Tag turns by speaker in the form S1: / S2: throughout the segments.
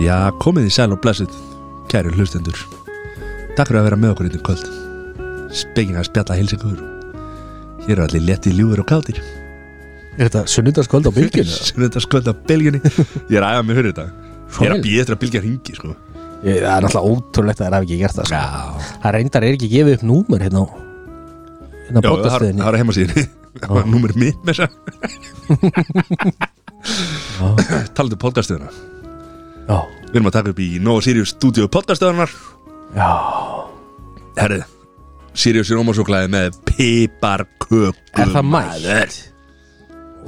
S1: Já, komið í sæl og blessuð, kæri hlustendur. Takk fyrir að vera með okkur hérna í kvöld. Spekin að spjalla heils ykkur. Hér eru allir letti ljúður og kátir.
S2: Er þetta sunnudagskvöld á bylgjunni?
S1: Sem þetta skoða á bylgjunni. Ég er aðeins með fyrir þetta. Ég er að býja eftir að bylgja ringi, sko.
S2: Ég- Það er alltaf ótrúlegt að það er ekki gert það sko.
S1: Já.
S2: Það reyndar er ekki að gefa upp númer hérna á hérna á
S1: Já, það er-
S2: bóttastöðinni
S1: það er heima síðan. Það var númer mitt með þess að. Talandi um podcastöðuna.
S2: Já,
S1: Við erum að taka upp í Nova Sirius stúdíu podcastöðunar.
S2: já,
S1: Herrið, Sirius er ómarsóklaði með piparköku.
S2: er það mætt?
S1: Maður.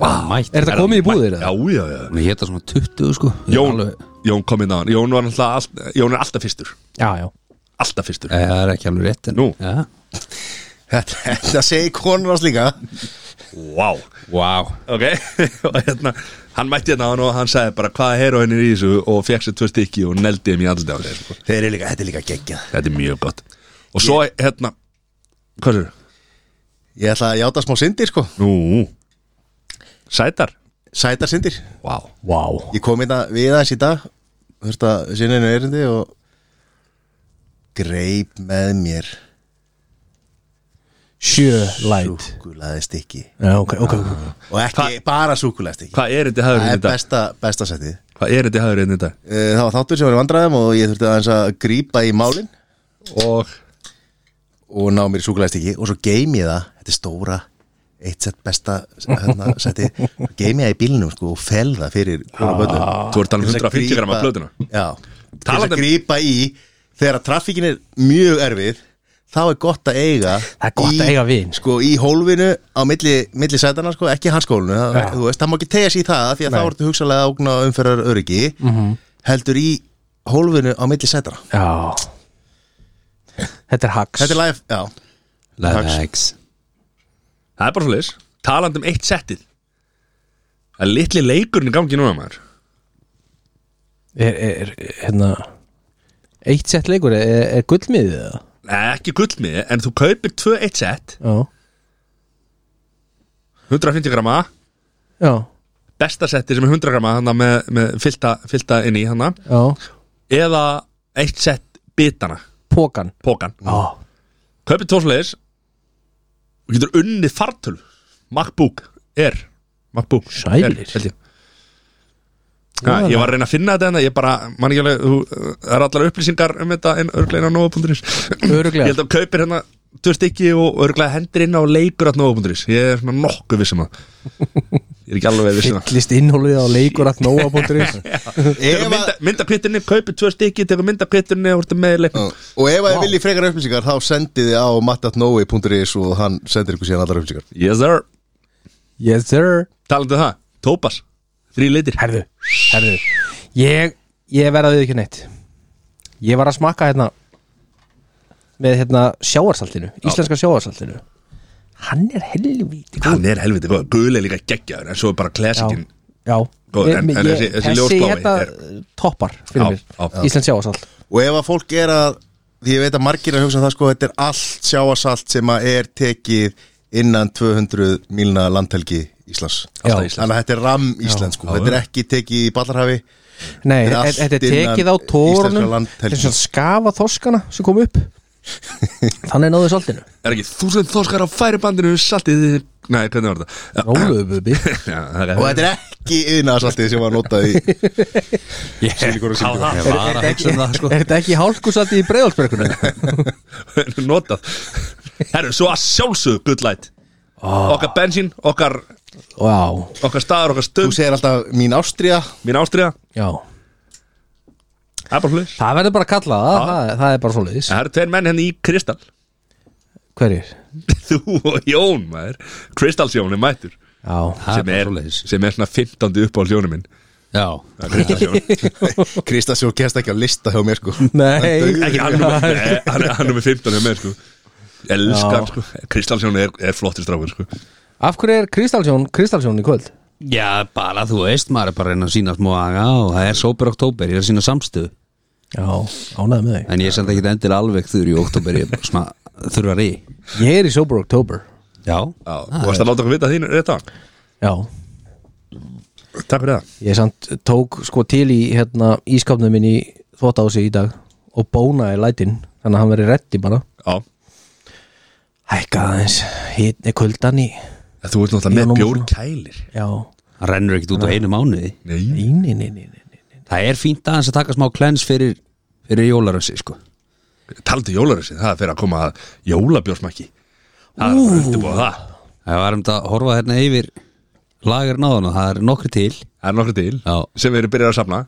S3: Vá, mætt
S2: Er þetta komið í búðir?
S1: Já, já, já.
S3: Hún hétta svona 20 sko Ég er
S1: Jón,
S3: alveg-
S1: Jón kom inn á hann Jón, var náttúrulega all, Jón er alltaf fyrstur
S2: Já, já,
S1: Alltaf fyrstur
S2: Eh.
S3: Nei, Það er ekki alveg rétt en
S1: Nú.
S3: ja.
S4: Þetta, þetta segi konur hans líka
S1: Vá
S3: Vá
S1: Ok Og hérna Hann mætti hérna á hann og hann sagði bara Hvaða heroin er í þessu Og fekk sér tvö stykki og neldi þeim í andlita á sér sko.
S4: Þeir eru líka, þetta er líka geggjað
S1: Þetta er mjög gott Og svo hérna Hvað sér?
S4: Ég ætla að játa smá syndir sko
S1: Nú Sætar
S4: Sætar syndir
S1: Vá
S2: vá
S4: Ég kom hérna við aðeins í dag Þurfti að sinna einu erindi og Greip með mér
S2: Sjö light
S4: Súkulaði stykki
S2: Já, ok, ok
S4: Og ekki bara súkulaði stykki
S1: Hvað er þetta hafður
S4: Það
S1: hérna í
S4: er
S1: dag?
S4: besta, besta setið
S1: Hvað er þetta hafður hérna í dag?
S4: Eh, Það var þáttur sem var í vandræðum og ég þurfti aðeins að grípa í málin
S1: Og
S4: og ná mér súkulaði stykki og svo geim ég það, þetta er stóra eitt sett besta hérna, seti, geim ég það í bílnum sko og fel það fyrir hvora bönnum
S1: Þú ert um alveg 150 gram af blöðuna
S4: Já, til þess
S1: Talandi
S4: að
S1: um-
S4: grípa í þegar að traffíkin er mjög erfið þá er gott að eiga
S2: Það er gott
S4: í,
S2: að eiga vin.
S4: sko, í hólfinu á milli, milli sætana, sko, ekki hans skólinu það, þú veist, það má ekki tegja sig í það því að þá ertu hugsalega að ógna umferðar öryggi
S2: Mhm.
S4: heldur í hólfinu á milli sætana
S2: Já Þetta er hacks
S4: Þetta er live, já
S3: Legs
S1: Það er bara svo leis Taland um eitt settið Það er litli leikurinn í gangi núna maður
S2: er, er, er, hérna Eitt sett leikur, er, er gullmiðið það?
S1: Nei, ekki gullmiði, en þú kaupir 2-1 set
S2: Já
S1: 150 grama,
S2: Já,
S1: besta seti sem er 100 grama hana, með, með fylta, fylta inn í hana
S2: já
S1: eða eitt set bitana,
S2: Pókan
S1: pókan
S2: Já,
S1: kaupir tósleis og getur unnið fartöl MacBook Air MacBook
S2: Sælir.
S1: Air, held ég Já, ég var að reyna að finna þetta en ég bara, man ekki alveg, þú- það eru allar upplýsingar um þetta en örglega inn á nova.is
S2: Örugglega.
S1: Ég held að þú kaupir hérna tvö stykki og örglega hendur inn á leikur á nova.is, ég er svona nokkuð vissum að Ég er ekki alveg um vissum að
S2: Fyllist innhólið á leikur að nóa.is
S4: Ef að-
S1: Mynda, myndakvittinni, kaupir tvö stykki, tekur myndakvittinni og ertu með í leiknum
S4: Já, Og ef að þið viljið frekar upplýsingar þá sendið þið á mattatnoi.is og hann sendir ykkur síðan allar upplýsingar
S1: Yes sir,
S2: Yes sir
S1: talandi um það, tópas, þrý litir
S2: Herðu, herðu Ég, ég verða við ekki neitt Ég var að smakka hérna Með hérna sjáarsaltinu Íslenska sjáarsaltinu Hann er helvíti góður.
S1: Hann er helviti góð, gul er líka geggjaður en svo er bara klassikin
S2: Já,
S1: Góður,
S2: Ég-
S1: en- en
S2: ég-
S1: þessi- þessi ljósblái
S2: hérna
S1: er-
S2: toppar fyrir
S1: Já,
S2: mér
S1: já, já.
S2: Íslensk sjáarsalt
S4: Og ef að fólk er að Því ég veit að margir er að hugsa það sko Þetta er allt sjáasalt sem að er tekið innan 200 milna landhelgi Íslands
S1: Alltaf
S2: Já.
S1: Ísland.
S4: Þannig að þetta er ram Ísland sko
S1: Já,
S4: Þetta er
S1: já.
S4: ekki tekið í Ballarhafi
S2: Nei,
S4: Þetta er
S2: e-
S4: allt
S2: þetta er
S4: innan
S2: tekið á
S4: íslenskra
S2: tórunum
S4: landhelgi.
S2: Þetta er svona skafa þorskana sem kom upp Þannig náðu saltinu
S1: Er ekki þúsund þorskar á færibandinu saltið þið- Nei, hvernig var þetta? Já,
S2: Róluðu bubi
S1: já, það er-
S4: Og þetta er ekki yðnaðasaltið sem var notað í Silikon og silikon
S3: Ég var að hugsa um það sko
S2: Er þetta ekki hálkusalti í breiðalsbergunum?
S1: notað Herru, svo að sjálfsögðu good light
S4: Ah.
S1: Okkar bensín, okkar,
S2: Vá,
S1: okkar staðar, okkar
S4: Þú
S1: stöð
S4: segir alltaf mín ástriða
S1: Mín ástriða,
S2: já
S1: það er bara hlut
S2: Það verður bara að kalla það, það, það er bara svoleiðis
S1: Það eru tveir menn henni í Kristall
S2: Hverjir?
S1: Þú og Jón, maður Kristallsjón er mættur
S2: Já,
S3: Það er
S1: sem
S3: bara
S1: er,
S3: svoleiðis.
S1: sem er svona 15. upp á sjónum minn
S3: Já
S1: Kristallsjón
S4: Krista sér kemst ekki á lista hjá mér sko
S2: nei
S1: ekki hann nummer, nei, hann, hann nummer 15 hjá mér sko Elskan sko, Kristallsjón er, er flottir strákur sko
S2: Af hverju er Kristallsjón, Kristallsjón í kvöld?
S3: Já, bara þú veist, maður er bara að reyna að sína smá aga og það er sópur oktober, ég er að sína samstöðu
S2: Já, ánægði með þig
S3: en ég er samt ekki endilega alveg þurr í oktober ég er bara svona þurrar í
S2: Ég er í Sober October
S3: Já,
S1: Já, þú varst að láta okkur vita þínu rétt á
S2: Já
S1: Takk fyrir það
S2: Ég samt tók sko til í hérna, ískapnum minn í þvóttási í dag og bónaði lætin þannig að hann verið reddi bara
S1: Já,
S2: Hækkaði aðeins, hitni kuldan í
S1: En þú ert náttúrulega
S2: Ég
S1: með
S2: er nú
S1: bjór
S2: svona-
S1: kælir
S2: Já,
S3: Það rennur ekkit út á einu mánuði
S1: Nei,
S2: íni, íni, íni
S3: Það er fínt aðeins að taka smá klens fyrir, fyrir jólarössi sko.
S1: taldi jólarössin, það er fyrir að koma að jólabjórsmakki Það er bara undirbúið það
S3: Það var um þetta að horfa hérna yfir lagar náðan og það er nokkri til
S1: Það er nokkuð til
S3: Já.
S1: sem við erum byrjað að safna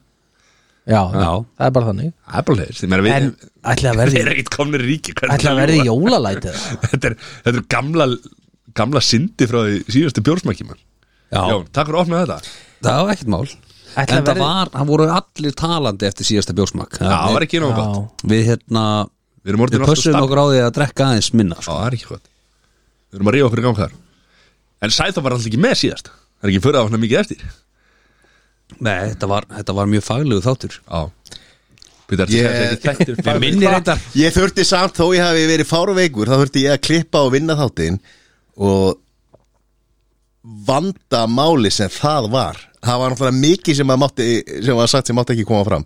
S2: Já,
S3: Já.
S2: það er bara þannig
S1: Það er bara leiðist, ég meina við
S2: En ætli að
S1: Við
S2: verði,
S1: erum ekkert komnir í ríki hvernig
S2: ætli
S1: er
S2: að verði
S1: jóla?
S2: jólalætið
S1: þetta, er, þetta er gamla gamla syndi frá því síðastu bjórsmakki mann
S3: Já,
S1: Jón, takk fyrir að opna þetta
S3: það var ekkert mál
S2: Ætli að
S3: En það
S2: verði
S3: var, það voru allir talandi eftir síðasta bjósmak
S1: Já, það var ekki nóg
S2: Já,
S1: gott
S3: Við hérna,
S1: Við erum
S3: við
S1: orðin
S3: pössum okkur á því að drekka aðeins minna
S1: Já,
S3: sko.
S1: það er ekki gott Við erum að ríða okkur í gang þar En Sæþór var alltaf ekki með síðast Það er ekki fyrir að hann mikið eftir
S3: Nei, þetta var, þetta var mjög faglegu þáttur
S1: Já Býta, ertu að
S4: Ég-
S1: segja að þetta er þættir
S3: Ég
S1: fagleg-
S3: minni reyndar
S4: Ég þurfti samt, þó ég hafi verið fáruveikur þá þurfti ég að klippa og vinna þáttinn og vanda máli sem það var það var náttúrulega mikið sem, að mátti, sem var sagt sem mátti ekki koma fram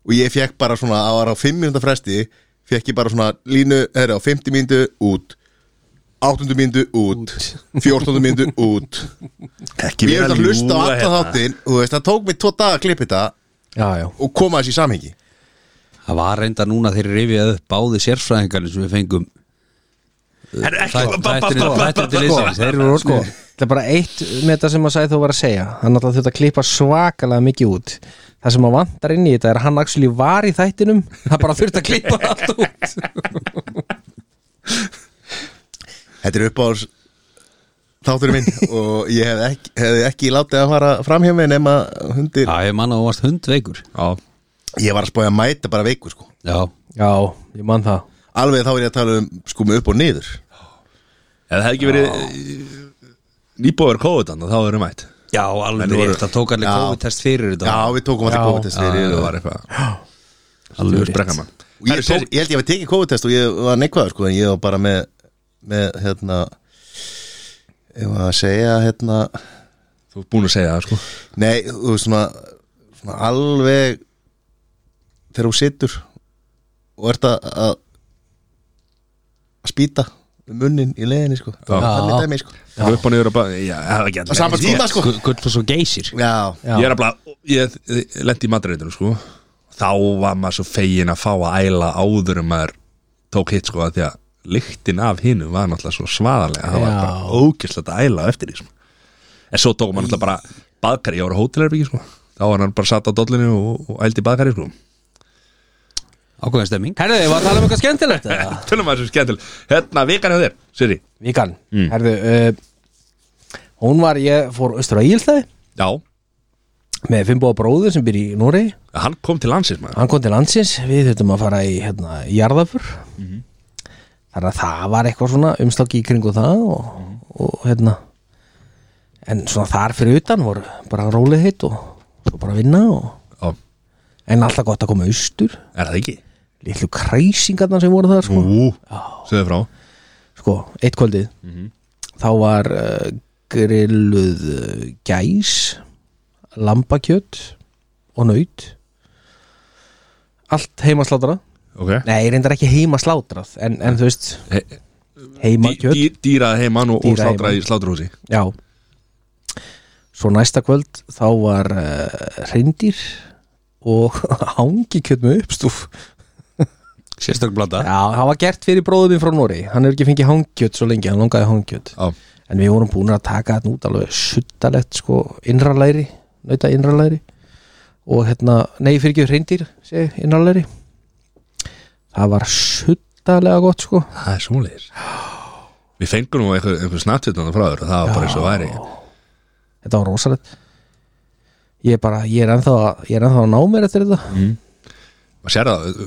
S4: og ég fekk bara svona, á var á 5 minúta fresti fekk ég bara svona línu herri, á 50 mínútu út 8 mínútu út 14 mínútu út
S1: Ekki
S4: Ég
S1: vera
S4: hefði að hlusta á
S1: ljúga
S4: alla
S1: hérna.
S4: þáttinn og þú veist, það tók mig tvo daga að klippa þetta
S2: já, já
S4: og koma þessi í samhengi
S3: Það var reyndar núna þegar rifið upp báði sérfræðingarnir sem við fengum
S1: Herru, ekki-
S3: Þæ-
S1: ba- ba-
S3: þættirnir-
S1: ba- ba- ba-
S3: þættirnir til
S1: sko.
S3: liðsins, þeir eru
S2: Sko,
S3: orðnir
S2: það er bara eitt með þetta sem að sagði þú var að segja hann alltaf þurft að klippa svakalega mikið út það sem að vantar inn í þetta er að hann actually var í þættinum það bara þurft að klippa það allt út
S4: Þetta er uppáðs þátturinn minn og ég hef ekki, hef ekki látið að fara fram hjá mig nema hundir
S3: Já, ég manna að þú varst hundveikur
S1: Já,
S4: Ég var að spája að mæta bara veikur sko
S3: Já,
S2: Já, ég man það
S4: Alveg þá er ég að tala um sko með upp og niður
S1: Ef það hefði ekki verið eh, nýbúður kóðutan þá erum mætt
S3: já alveg
S1: Menn voru-
S3: rétt Það tók allir
S4: Já.
S3: COVID-test fyrir þetta
S4: Já, við tókum allir
S2: Já.
S4: COVID-test fyrir
S1: það
S4: og-
S1: var eitthvað alveg sprekka mann
S4: og ég, tók, ég held ég að teki COVID-test og ég var neikvæður sko en ég var bara með, með hérna ég var að segja hérna
S1: þú ert búin að segja það sko
S4: Nei, þú veist svona, svona alveg þegar þú situr og ert að að, að spýta með munnin í leiðinni sko
S1: Já.
S4: þannig dæmi sko
S1: það er upp og niður og bara já, það er ekki
S4: Á sama tíma sko
S3: Gullfoss og geysir
S4: Já,
S2: Já.
S1: ég er að bara ég lendi í matreitur sko þá var maður svo fegin að fá að æla áður en maður tók hitt sko af því að lyktin af hinu var náttúrulega svo svaðarlega það var
S2: Já.
S1: bara ógæslega að æla á eftir því sko. en svo tók maður náttúrulega bara baðkari ég var á hótelherbyggi sko þá var hann bara satt á dollinu og, og ældi í baðkari sko
S3: Ákveðin stemming
S2: Herðu, ég var að tala um eitthvað skemmtilegt
S3: Mm.
S2: eða?
S1: tölum maður sem skemmtil hérna vikar hjá þér, Siri
S2: Víkan,
S3: Mm.
S2: herðu uh, Hún var, ég fór austur á Ílstæði
S1: já,
S2: með Fimboa bróður sem byrja í Núri
S1: hann kom til landsins maður
S2: hann kom til landsins, við þurftum að fara í hérna, jarðafur þannig að það var eitthvað svona umstakki í kringu það og, og hérna en svona þar fyrir utan voru bara rólið heitt og svo bara vinna og,
S1: já,
S2: en alltaf gott að koma austur
S1: er það ekki?
S2: litlu kræsingarna sem voru það sko,
S1: ú, segðu frá
S2: sko eitt kvöldið þá var uh, grilluð uh, gæs lambakjöt og naut allt heimaslátrað
S1: ok
S2: Nei, reyndar ekki heima slátrað En, en þú veist, heima
S1: dý,
S2: kjöt
S1: dý, dýrað heimann og, og
S2: Dýrað
S1: slátrað í sláturhúsi
S2: Já Svo næsta kvöld þá var uh, reyndir og hangi kjöt með uppstúf
S3: Sérstök blanda
S2: Já, það var gert fyrir bróðum minn frá Nóri Hann hefur ekki fengið hangkjöt svo lengi, hann langaði hangkjöt
S1: já,
S2: En við vorum búin að taka þetta út alveg suttalegt sko, innralæri, nauta innralæri og hérna, nei, fyrir ekki reyndir segi, innralæri Það var suttalega gott sko
S1: það er svoleiðis við fengum nú einhver, einhver snartvitnana frá þér og það var bara eins og væri
S2: þetta var rosalegt ég er bara, ég er ennþá ég er ennþá að ná mér eftir þetta
S1: maður sér það,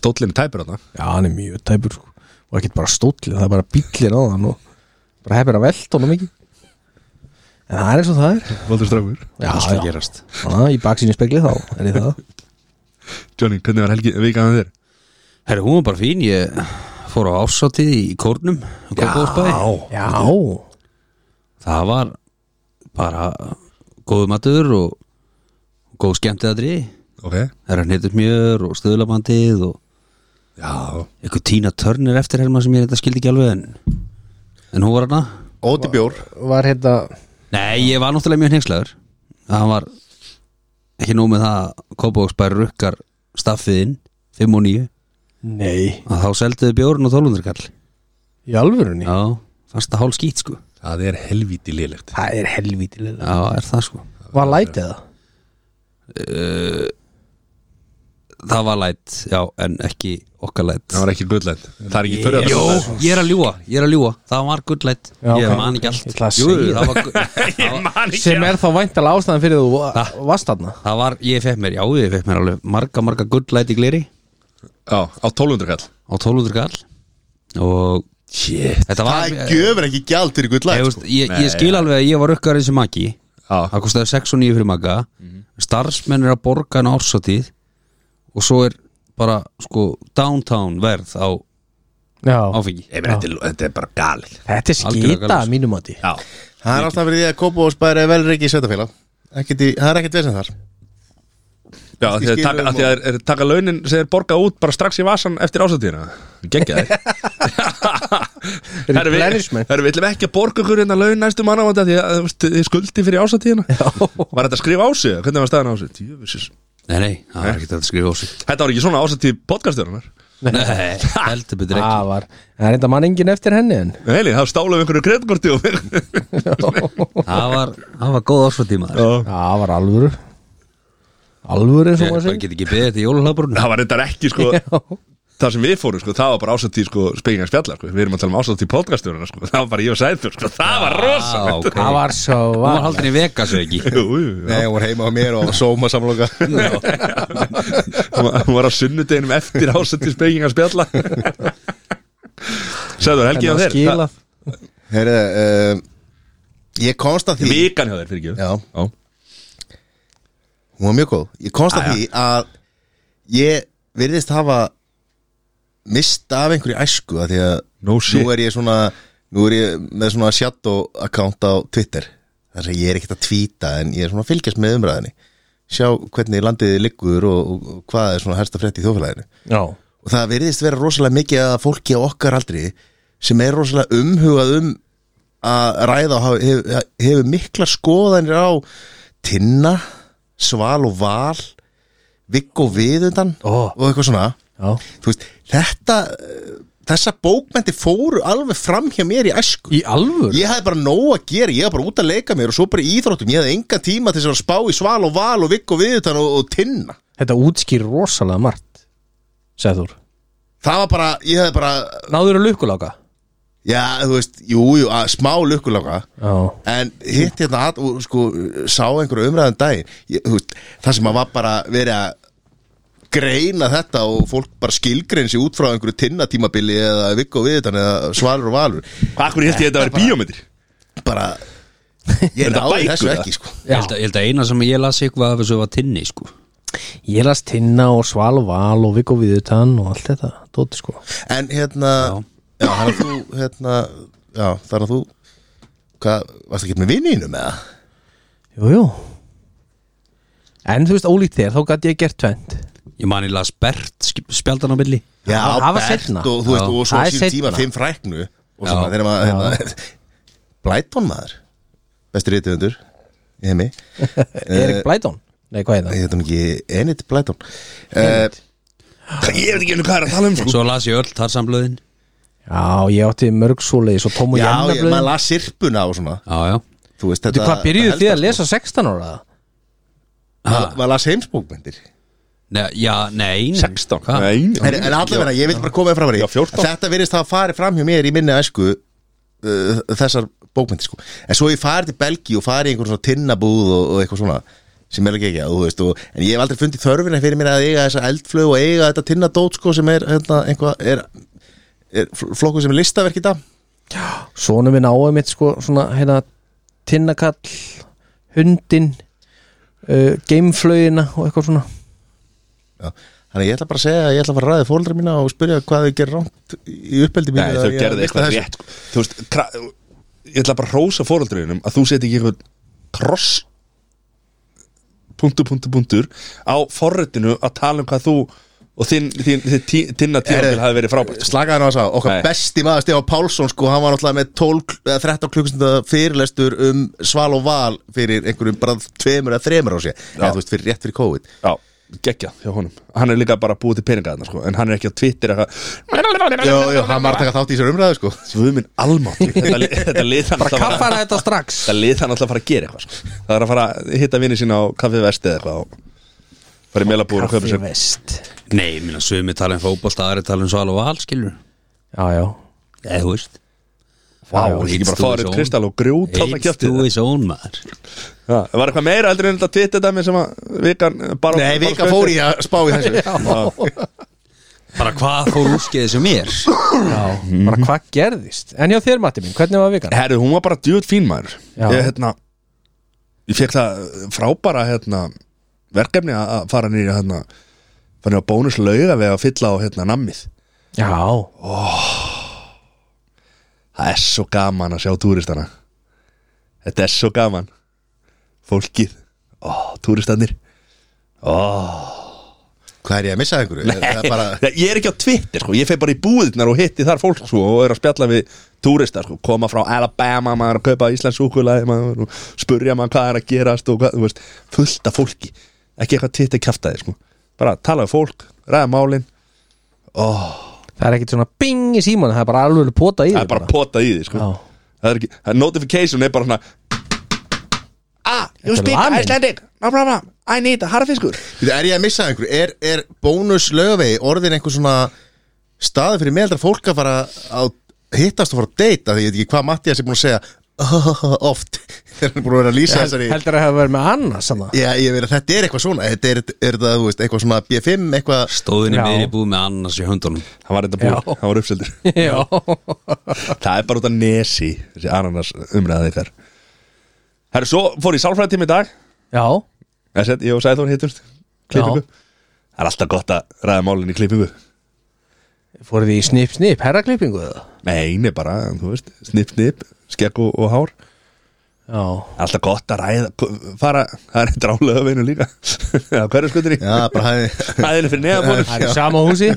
S1: stóllin tæpir þarna
S2: já, hann er mjög tæpur sko. og ekkert bara stóllin, það er bara bíllin á hann og bara hefur að velta honum ekki en það er eins og það er
S1: Valdur Strákur
S3: Alltaf
S2: já, já,
S3: gerast
S2: já í baksínu spekli þá er ég það
S1: Johnny, hvernig var helgi vikaðan þér?
S3: Herra, hún var bara fín Ég fór á ársátið í kórnum Kópavóðsbæði
S2: já,
S3: Það var bara góðu matur og góð skemmtiðadri
S1: ok
S3: það er að neytur mjör og stöðlabandið og
S1: Já,
S3: einhver tína törnir eftir helma sem ég þetta skildi ekki alveg en en hún var hana
S4: Óti bjór
S2: Var hérna
S3: Nei, ég var náttúrulega mjög hnengslegur Það var ekki nóg með það að Kópavóksbær rukkar staffiðinn 5 og 9
S2: Nei
S3: að þá selduðu bjórn og 1200 kall
S2: Í alvörunni?
S3: Já, fannst það hálf skýt sko
S1: það er helvíti lélegt
S2: Það er helvítilega
S3: Já, er það sko
S2: Var lætið það?
S3: Það var læt, já, en ekki okkar læt
S1: Það var ekki gullænt Það er ekki fyrir
S3: Jó, ég er að ljúa, ég er að ljúa Það var gull læt,
S2: Já,
S3: ég
S2: ok.
S3: man ekki
S2: Ég
S3: allt
S2: ætla að
S3: Jú,
S2: segja
S3: það var gull
S2: Sem er þá væntalega ástæðan fyrir þú va- varst þarna
S3: Það var, ég fekk mér, já, ég fekk mér alveg marga, marga gull læt í gleri
S1: Já, á 1200 kall
S3: á 1200 kall og
S1: Shit
S3: þetta var
S4: Það gefur ekki gjald fyrir gull sko.
S3: Ég,
S4: læt
S3: veist, ég, ég skil alveg að ég var ökkar eins og maki
S1: Já,
S3: Það kostiði 6 og 9 fyrir maka Starfsmenn er að borga en ársatíð Og svo er bara sko downtown verð á
S2: Já
S3: áfengi
S1: ég meina þetta er- þetta er bara galið
S2: Þetta er
S3: Algjörlega
S2: skita
S3: galið.
S2: mínum átti
S1: Já,
S4: Það er ástæðan fyrir því að Kópavóksbær er velreiki sveitafélag Ekkert í- Það er ekkert vesen þar
S1: Já, af því að
S4: skilur
S1: taka,
S4: um
S1: af því að er, er, taka launin sem er borgað út bara strax í vasan eftir ásatíðina Gengja þér Herra, við-
S2: replenishment.
S1: herra, við ætlum ekki að borga ykkur hérna laun næstu mannavanda því að þú veist, þið skuldi fyrir ásatíðina Var þetta að skrifa á sig? Hvernig var staðan á sig? Djöfusis.
S3: Nei, nei, það er ekki þetta að skrifa á sig
S1: Þetta var ekki svona ásatíð podcaststjórnar
S3: Nei, heldur betur ekki
S2: Það var Það er enda mann engin eftir henni en
S1: Heili, það stálaði einhverju kreddkorti og
S3: Það var, það var góð ársatíma Ég
S1: Já.
S2: Það var alvöru Alvöru eins og maður
S3: bara
S2: segir
S3: get ekki beðið þetta jólahlaðbrún
S1: Það var þetta ekki sko
S2: Já.
S1: Það sem við fórum sko, það var bara ásatíð sko spekingar spjallar sko Við erum að tala um ásatíð podcaststjórnar sko Það var bara ég og sæður sko, það var rosa
S3: ah, okay.
S2: Það var svo
S3: Hún var haldin í Vegas eða ekki
S1: Jú, jú,
S4: Nei, hún var heima á mér og sóma samloka
S1: hún var- hún var á sunnudeginum eftir ásætti spekingar spjalla Sæður, helgi á
S2: En það
S1: þér
S2: skila
S4: Herðu, uh, ég komst
S1: Það-
S4: að því
S1: Vikan hjá þér, fyrir ekki
S4: Já, hún var mjög góð Ég komst
S1: Ah,
S4: að því að ég virðist hafa mist af einhverju æsku að því að
S1: No shit.
S4: nú er ég svona nú er ég með svona shadow account á Twitter þar sem ég er ekkert að tvíta en ég er svona að fylgjast með umræðinni sjá hvernig landiði liggur og, og, og hvað er svona hersta frétt í þjófélaginu
S2: Já
S4: og það virðist vera rosalega mikið að fólki á okkar aldri sem er rosalega umhugað um að ræða og hafi- hefur hef mikla skoðanir á Tinna, Sval og Val Vigg og Viðundan
S2: Ó.
S4: og eitthvað svona
S2: Já
S4: Þú veist, þetta eh, þessa bókmenti fóru alveg fram hjá mér í æsku
S2: Í alvöru?
S4: Ég hafði bara nóg að gera, ég var bara út að leika mér og svo bara í íþróttum, ég hafði enga tíma til þess að vera að spá í Sval og Val og Vigg og Viðundan og, og Tinna
S2: Þetta útskýr rosalega margt Sæður
S4: Það var bara, ég hafði bara
S2: Náður að lukkuláka?
S4: Já, þú veist, jú, jú, að, smá lukkuláka
S2: Já
S4: En hitt hérna að, og, sko, sá einhverju umræðan daginn ég, þú veist, Það sem að var bara verið að greina þetta og fólk bara skilgrein sér út frá einhverju tinnatímabili eða vikku og viðutan eða svalur og valur
S1: Hvað hverju held ég þetta að vera bíómyndir?
S4: Bara, ég
S1: Eru þetta
S4: náði
S1: bækur,
S4: þessu
S1: eða?
S4: ekki, sko
S3: Ég held að- ég held að eina sem ég las eitthvað af þessu var tinni sko
S2: Ég las Tinna og Sval og Val og Viggo Viðutan og allt þetta Dóti sko
S4: En hérna, já, þannig að þú, hérna, já, þannig að þú Hvað, varst ekki með vinninum eða?
S2: Jú, jú En þú veist ólíkt þér, þá gæti ég gert tvend
S3: Ég man ég las Bert sk- spjaldan á milli
S4: Já,
S2: Það var
S4: Bert
S2: seinna.
S4: og, þú veist,
S3: Já.
S4: og svo
S2: Það
S4: á
S2: er
S4: sínum tíma
S2: seinna.
S4: fimm fræknu og svona þegar maður hérna, Blæton maður bestur reytiðundur í heimi
S2: Erik
S4: Eh,
S2: Blædón? Nei, hvað er það?
S4: ég heit hún ekki Enid Blæton uh,
S2: Enid.
S1: Ég veit ekki henni hvað er að tala um sko
S3: Svo las ég öll tarsamblöðin
S2: Já, ég átti mörg svoleiðis og Tom og
S4: Já,
S2: Janna
S4: ég,
S2: blöðin
S4: maður las sirpuna og svona
S3: Já, já
S4: Þú veist,
S2: Þú
S4: þetta
S2: hvað byrjuðu
S4: þetta
S2: þið að
S4: helst-
S2: lesa 16 ára?
S4: Maður maður las heimsbókmyndir
S3: Nei, já, nei nei.
S1: 16
S3: Hvað?
S1: Nei,
S4: En, en allavega, ég vil bara koma með fram að því
S1: Já, 14.
S4: að Þetta virðist að fari fram hjá mér í minni æsku uh, Þessar bókmyndir sko En svo ég farið til Belgíu og farið í einhvern svona tinnabúð og, og eitthvað svona sem er ekki ekki, þú veist, og, en ég hef aldrei fundið þörfina fyrir mér að eiga þessa eldflög og eiga þetta tinnadót sko sem er, hérna, einhvað, er, er flokku sem er listaverk í dag
S2: Svona við náum mitt sko svona hérna Tinnakall, Hundin uh, Geimflögina og eitthvað svona
S4: Já. Þannig að ég ætla bara að segja að ég ætla að fara að ræði fóldra mína og spyrja hvað þau gerir rámt í uppeldi mínu
S1: Nei,
S4: að
S1: þau
S4: ég
S1: gerði
S4: lista
S1: eitthvað
S4: þessu.
S1: rétt sko. Þú veist, kra- ég ætla bara að hrósa fóröldriðunum að þú seti ekki einhvern kross punktur, punktur, punktur á forritinu að tala um hvað þú og þinn, þinn, þinn, þinn tinna
S4: Eh,
S1: tímabil hafi verið frábært
S4: Slakaði hann á þess að okkar
S1: Nei.
S4: besti maður Stefán Pálsson sko, hann var náttúrulega með 12, eða 13 klukkustunda fyrirlestur um sval og val fyrir einhverjum bara tveimur eða þremur á sér eða þú veist, fyrir rétt fyrir COVID
S1: Já, geggja hjá honum Hann er líka bara búið til peninga þarna sko En hann er ekki á Twitter eitthvað
S4: Jó, jó, hann var að taka þátt í þessar umræðu sko
S1: Svöðminn almátti Þetta, li- þetta lið hann
S2: Bara
S1: alltaf að fara
S2: kaffara þetta strax
S1: Þetta lið hann alltaf að fara að gera eitthvað sko. Það er að fara að hitta vinni sína á kaffi vesti eða eitthvað og fara í meilabúr og köpa
S2: Kaffi
S1: sér
S2: vest
S3: Nei, minna sumi tala um fótbolta, aðri tala um sval og val, skilur
S2: Já, já
S3: Eða, þú veist
S1: Vá,
S2: Já,
S1: ég ekki bara
S3: Eats
S1: að fara
S3: to
S1: upp
S3: his
S1: kristal og grjót Þarna
S3: Eits
S1: kjátti
S3: þú
S1: það
S3: is own, maður
S1: Var eitthvað meira heldur en þetta Twitter dæmi sem að vikan eh, bara
S4: Nei, vika fór í að spá í þessu
S3: Bara hvað fór úrskeið sem mér
S2: Já,
S4: Mhm.
S2: bara hvað gerðist En hjá þér, Matti mín, hvernig var vikan?
S1: Herru, hún var bara djúð fín maður
S2: Já.
S1: Ég, hérna, ég fekk það eh, frábæra hérna, verkefni að að fara nýri hérna, fara nýri á bónuslauga við að fylla á hérna, nammið
S2: Já,
S1: Það er svo gaman að sjá túristana Þetta er svo gaman Fólkið Ó, túristanir
S4: Hvað er ég að missa af einhverju? Það er bara,
S1: Ég ég er ekki á Twitter sko, ég feg bara í búðirnar og hitti þar fólk sko og er að spjalla við túrista sko, koma frá Alabama, maður er að kaupa Íslands súkulæði, maður er að spurja maður hvað er að gerast og hvað, þú veist, fullt af fólki, ekki eitthvað Twitter kjaftaði sko, bara tala við fólk, ræða málin,
S2: það er ekkit svona bing í síman Það er bara alveg pota í
S1: það
S2: þig
S1: er bara potað í því sko,
S2: Já.
S1: það er ekki, það er notification er bara svona, ah, you
S2: Þetta er
S1: speak
S2: lamin.
S1: Icelandic, no problem, I need a harfiskur,
S4: Bíddu, er ég að missa af einhverju? Er, er bónus lögavegi orðin einhver svona staði fyrir meðaldra fólk að fara að hittast og fara að deyta því ég veit ekki hvað Mattias er búin að segja oh, oft þegar hann er búin að vera að lýsa þessari
S2: Heldur að hafa verið með annars sama
S4: Já, ég veit að þetta er eitthvað svona Þetta er, er það, þú veist, eitthvað svona B5 eitthvað
S3: Stóðinni
S2: Já.
S3: meðri búið með annars í höndunum
S1: hann var þetta búið, hann var uppseldur.
S2: Já,
S1: Það er bara út af nesi Þessi ananas umræðið ykkar Herru, svo fór ég sálfræðitími í dag
S2: já,
S1: Eða sett, Ég og Sæþór hittumst Klippingu
S2: Já.
S1: Það er alltaf gott að ræða málin í klippingu
S2: fóruð þið í snip, snip, herraklippingu eða?
S1: Nei, nei bara, þú veist, snipp, snipp Skegg og, og hár
S2: Já,
S1: Alltaf gott að ræða Fara, það er drálega veinu líka Það hverju skutinni
S4: Já, bara hæði
S1: Hæðinu fyrir neðabónum
S2: það er í sama húsi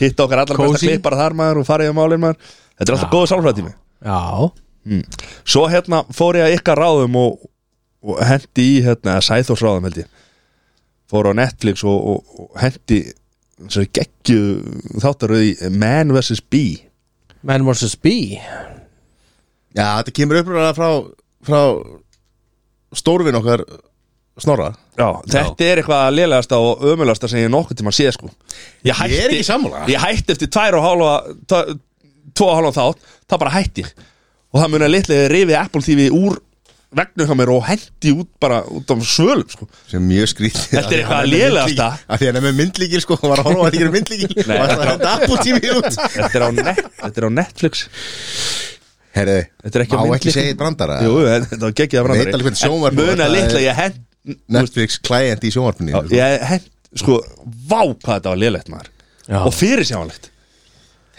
S1: Hitta okkar allar besta
S2: Cozy.
S1: klippara þar maður Og fara í málin maður Þetta er alltaf
S2: Já.
S1: góð sálfræðitími
S2: Já,
S1: Svo hérna fór ég að ykkar ráðum og, og hendi í hérna, eða Sæþórs ráðum held ég fór á Netflix og, og, og hendi svo geggju þáttaröð í Man vs. Bee
S2: Man vs. Bee
S4: Já, þetta kemur uppröðlega frá, frá stórvin okkar Snorra
S1: Já, þetta er eitthvað lélegasta og ömulegasta sem ég nokkuð tíma sé sko Ég, hætti,
S4: Ég er ekki sammála.
S1: Ég hætti eftir tvær og hálfa tva- tvo og hálfa þátt, það bara hætti ég. og það muni að litlega rifið Apple TV úr vegnu hjá mér og hendi út bara út af svölum sko
S4: sem er mjög skrítið
S1: Þetta er
S4: Af því að
S1: eitthvað lélegasta.
S4: hann með myndlíkil- af Því hann er með myndlíkil sko og var að horfa að því er myndlíkil
S1: Nei,
S4: og það er þetta Apple TV út
S1: Þetta er á, net, þetta er á Netflix
S4: Herri,
S1: Þetta er ekki á
S4: má
S1: myndlíkil.
S4: ekki segja eitt brandara
S1: Jú, en þetta var geggjaða brandari
S4: Veit alveg hvernig sjónvarp
S1: En Muna
S4: þetta
S1: litla,
S4: er.
S1: ég hent
S4: Netflix klæjandi í sjónvarpinni sko.
S1: Ég hent, sko, vá hvað þetta var lélegt maður
S2: Já.
S1: Og fyrir sjáanlegt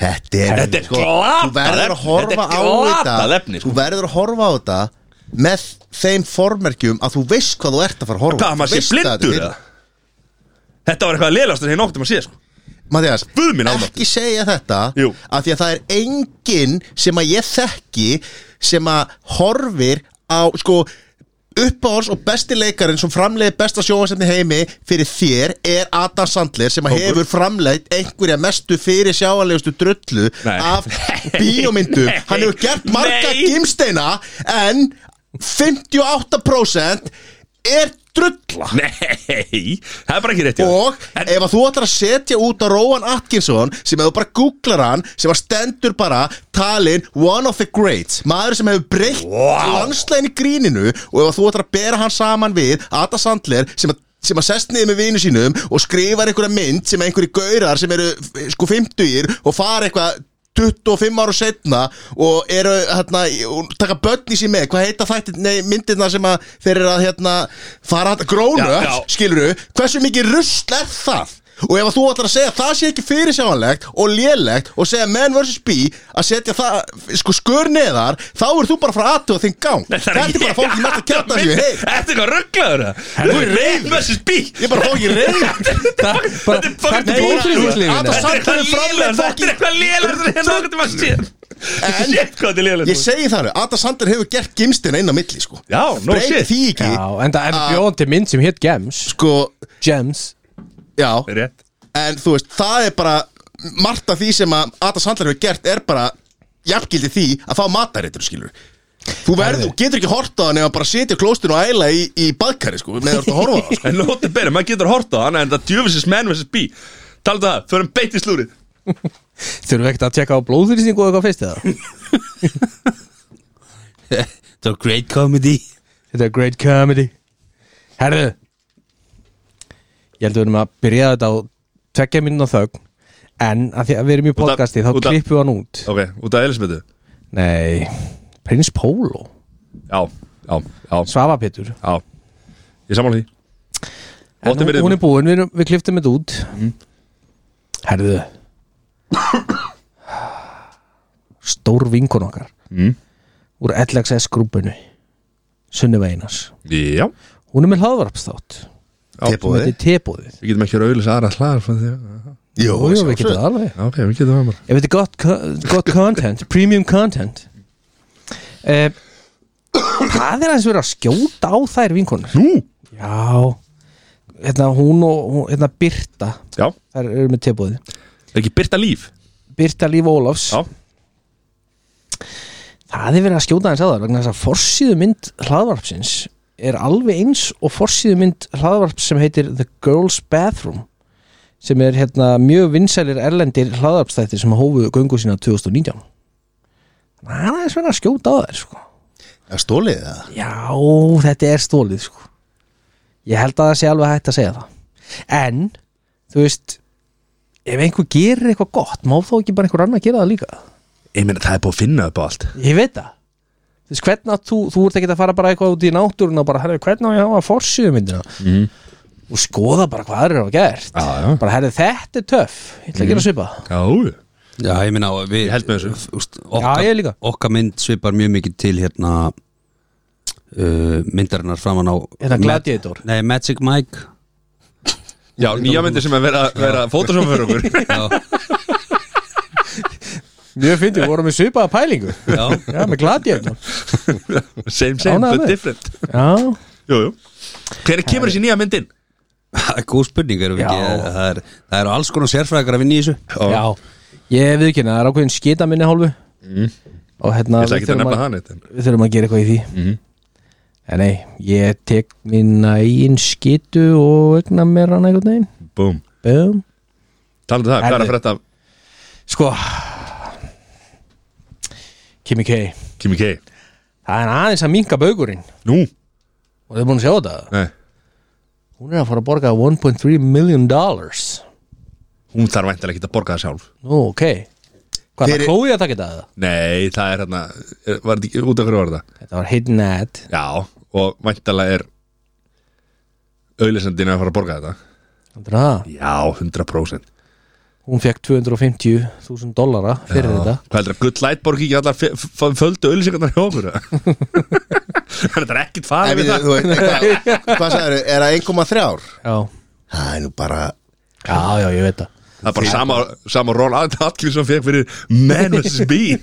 S4: Þetta er, sko,
S1: Þetta er glatað
S4: Þú verður að
S1: efni.
S4: horfa
S1: Þetta er
S4: á þetta
S1: glatað efni, sko.
S4: Þú verður að horfa á þetta með þeim formerkjum að þú veist hvað þú ert að fara að horfa á.
S1: Hvað, maður
S4: Þú
S1: sé
S4: veist
S1: blindur
S4: þetta
S1: eða? Þetta var eitthvað lélegast sem ég nóttum að sé, sko
S4: Mathias,
S1: Guð minn almáttugur.
S4: ekki segja þetta
S1: Jú.
S4: af því að það er enginn sem að ég þekki sem að horfir á sko uppáhalds og besti leikarinn sem framleiði besta sjóhansefni heimi fyrir þér er Adam Sandler sem að
S1: Hókur.
S4: hefur framleitt einhverja mestu fyrir sjáanlegustu drullu
S1: Nei.
S4: af bíómyndum hann hefur gert marga
S1: Nei.
S4: gimsteina en 58% er drulla
S1: Nei, það er bara ekki rétt hjá þér.
S4: Og ef að þú ætlar að setja út á Róan Atkinson sem ef þú bara googlar hann sem að stendur bara talin one of the greats maður sem hefur breytt
S1: Vá.
S4: landslegin í gríninu og ef að þú ætlar að bera hann saman við Ada Sandler sem að sem að sest niður með vinu sínum og skrifar einhverja mynd sem einhverju gaurar sem eru f- sko 50 og fara eitthvað 25 ára setna og eru hérna, og taka börn í sín með hvað heita þættir, nei myndirna sem að þeir eru að hérna, fara að grónu
S1: Já, já.
S4: skiluru, hversu mikið rusl er það Og ef að þú ætlar að segja að það sé ekki fyrirsjáanlegt og lélegt og segja menn vs. bí að setja það sko skur neðar þá er þú bara að fara aðtöða þinn gang Þetta er bara fólkið mætt að kjarta sér hey,
S1: Þetta er eitthvað rugglaður Þú er reyð versus bí
S4: Ég er bara fólkið reyð
S1: Þetta er
S2: Þarna
S1: fucking
S2: er blóðþrýstingurinn.
S1: Þetta
S4: Adam
S1: er
S4: Sandler
S1: eitthvað
S4: er framleitt
S1: lélegur Þetta er
S4: fucking-
S1: eitthvað lélegur Þetta er eitthvað lélegur Shit hvað þetta er lélegur
S4: En- Ég segi það nú, Adam Sander hefur gert gimstina inn á milli sko
S1: Já, no
S4: Breyti
S1: shit.
S4: því ekki
S2: Já, en það er bjóðandi mynd sem hétt Gems
S4: Sko,
S2: Gems
S4: já
S1: Rétt
S4: En þú veist, það er bara Margt af því sem að Adam Sander hefur gert er bara Jafngildi því að fá matareitur skilur Þú verður, þú getur ekki horta hann ef hann bara sitja klóstinu og æla í, í baðkari sko með þú ert að horfa á það sko.
S1: En nóttu byrja, maður getur hort á hann En það djöfisins menn versus bí Taldu það, förum beitt í slúrið
S2: Þurfum við ekkert að tjekka á blóðþrýstingu og eitthvað fyrst eða?
S3: Þetta var great comedy
S2: Þetta er great comedy Herðu Ég held að við erum að byrja þetta á tvekja mínúna þögn En að því að við erum í podcasti þá
S1: út af-
S2: klippum við hann út
S1: Ok, út af Elisabethu
S2: Nei, Prins Pólo
S1: Já, já, já,
S2: Svafa Pétur
S1: já Ég samála því
S2: En
S1: Óttin
S2: hún,
S1: verið-
S2: hún er búin, við, erum- við klipptum þetta út Herðu Stór vinkun okkar
S1: Mm.
S2: Úr LXS grúpinu Sunniva Einars
S1: Já,
S2: Hún er með hlaðvarpstátt Hún
S4: Tilboðið.
S2: heitir Tebóðið
S1: við getum ekki að auðlýsa aðra hlaðar frá því að-
S4: Jú,
S2: Jú, jú, við
S4: sjálfsögðu.
S2: getum það alveg
S1: Já, Ok, við getum það bara
S2: Ef þetta er gott, co- gott content, premium content uh, Hvað er aðeins verið að skjóta á þær vinkonur?
S1: Nú?
S2: Já Hérna hún og hún- hérna Birta
S1: Já,
S2: Þær eru með tilbúði
S1: er ekki byrta líf
S2: Birta Líf Ólafs
S1: Já,
S2: Það er verið að skjóta aðeins á þær vegna þess að forsíðumynd hlaðvarpsins er alveg eins og forsíðumynd hlaðvarps sem heitir The Girl's Bathroom sem er hérna mjög vinsælir erlendir hlaðvarpstættir sem hófu göngu sína 2019 Það er aðeins verið að skjóta á þær sko
S4: Er stólið það?
S2: Já, þetta er stólið sko. Ég held að það sé alveg hægt að segja það En, þú veist Ef einhver gerir eitthvað gott Má þó ekki bara einhver annar gera það líka
S1: ég meina það er búið að finna upp á allt
S2: Ég veit það Þú veist, hvernig að þú, þú ert ekki að fara bara eitthvað út í náttúrun og bara, herri, hvernig á ég að hafa forsýðu myndina
S1: Mhm.
S2: og skoða bara hvað aðrir hafa gert
S1: Já, já. Mhm.
S2: bara, herri, þetta er töff ég ætla að gera svipa
S1: Já, jú.
S3: Já, ég meina við,
S1: Ég held með þessu.
S3: f- úst,
S2: Já, ég líka.
S3: okkar, okkar mynd svipar mjög mikið til hérna uh, myndarinnar framan á
S2: Hérna Gladiator.
S3: Mag- Nei, Magic Mike
S1: já nýja myndir sem er vera, vera fótosum fyrir okkur
S3: Já,
S2: Mjög fyndi, vorum við svipaða pælingu
S3: já
S2: Já, með gladjöfnum
S1: Same, same,
S2: Ánægður
S1: but
S2: með.
S1: different
S2: Já,
S1: Jú, jú Hvernig kemur þessi nýja myndin?
S3: Það er góð spurning erum við
S2: Já.
S3: ekki Það er- það eru alls konar sérfræðingar að vinna í þessu
S2: Já, ég við ekki, það er ákveðin skita minni hálfu
S1: Mhm.
S2: og hérna
S1: Ég ætla
S2: við
S1: ekki að
S2: þurfum,
S1: nefna
S2: að,
S1: það Mhm. neitt en-
S2: við þurfum að gera eitthvað í því En nei, ég tek minna eigin skitu og egna mér hann einhvern veginn
S1: Búm
S2: Bum.
S1: Talandi um það, hvað er að
S2: Herðu.
S1: frétta af
S2: Sko Kimi K
S1: Kimi K?
S2: Það er aðeins að minka baugurinn
S1: Nú?
S2: og þið er búin að sjá þetta
S1: Nei
S2: Hún er að fara að borga 1.3 million dollars
S1: Hún þarf væntalega ekki að borga það sjálf
S2: Nú, ok Hvað, það
S4: Fyrir-
S2: klóið að taka þetta? eða?
S1: Nei, það er hérna er- Var þetta ekki út af hverju var þetta?
S2: Þetta var hidden ad
S1: Já, og væntalega er auðlýsandinn að fara að borga þetta
S2: Heldur það?
S1: Já, 100%
S2: Hún fekk 250.000 dollara fyrir þetta
S1: Hvað heldur að Good Light borgi ekki allar fe- f- földu auðlýsingarnar hjá okkur? eða? Þetta er ekkit
S4: Nei,
S1: farið
S4: við,
S1: við
S4: þú
S1: það
S4: veist, hvað, hvað sagður, er það 1,3?
S2: Já,
S4: Það er nú bara
S2: já, já, ég veit það
S1: Það er bara sama, sama Ron Atkinson fekk fyrir Man vs. Bee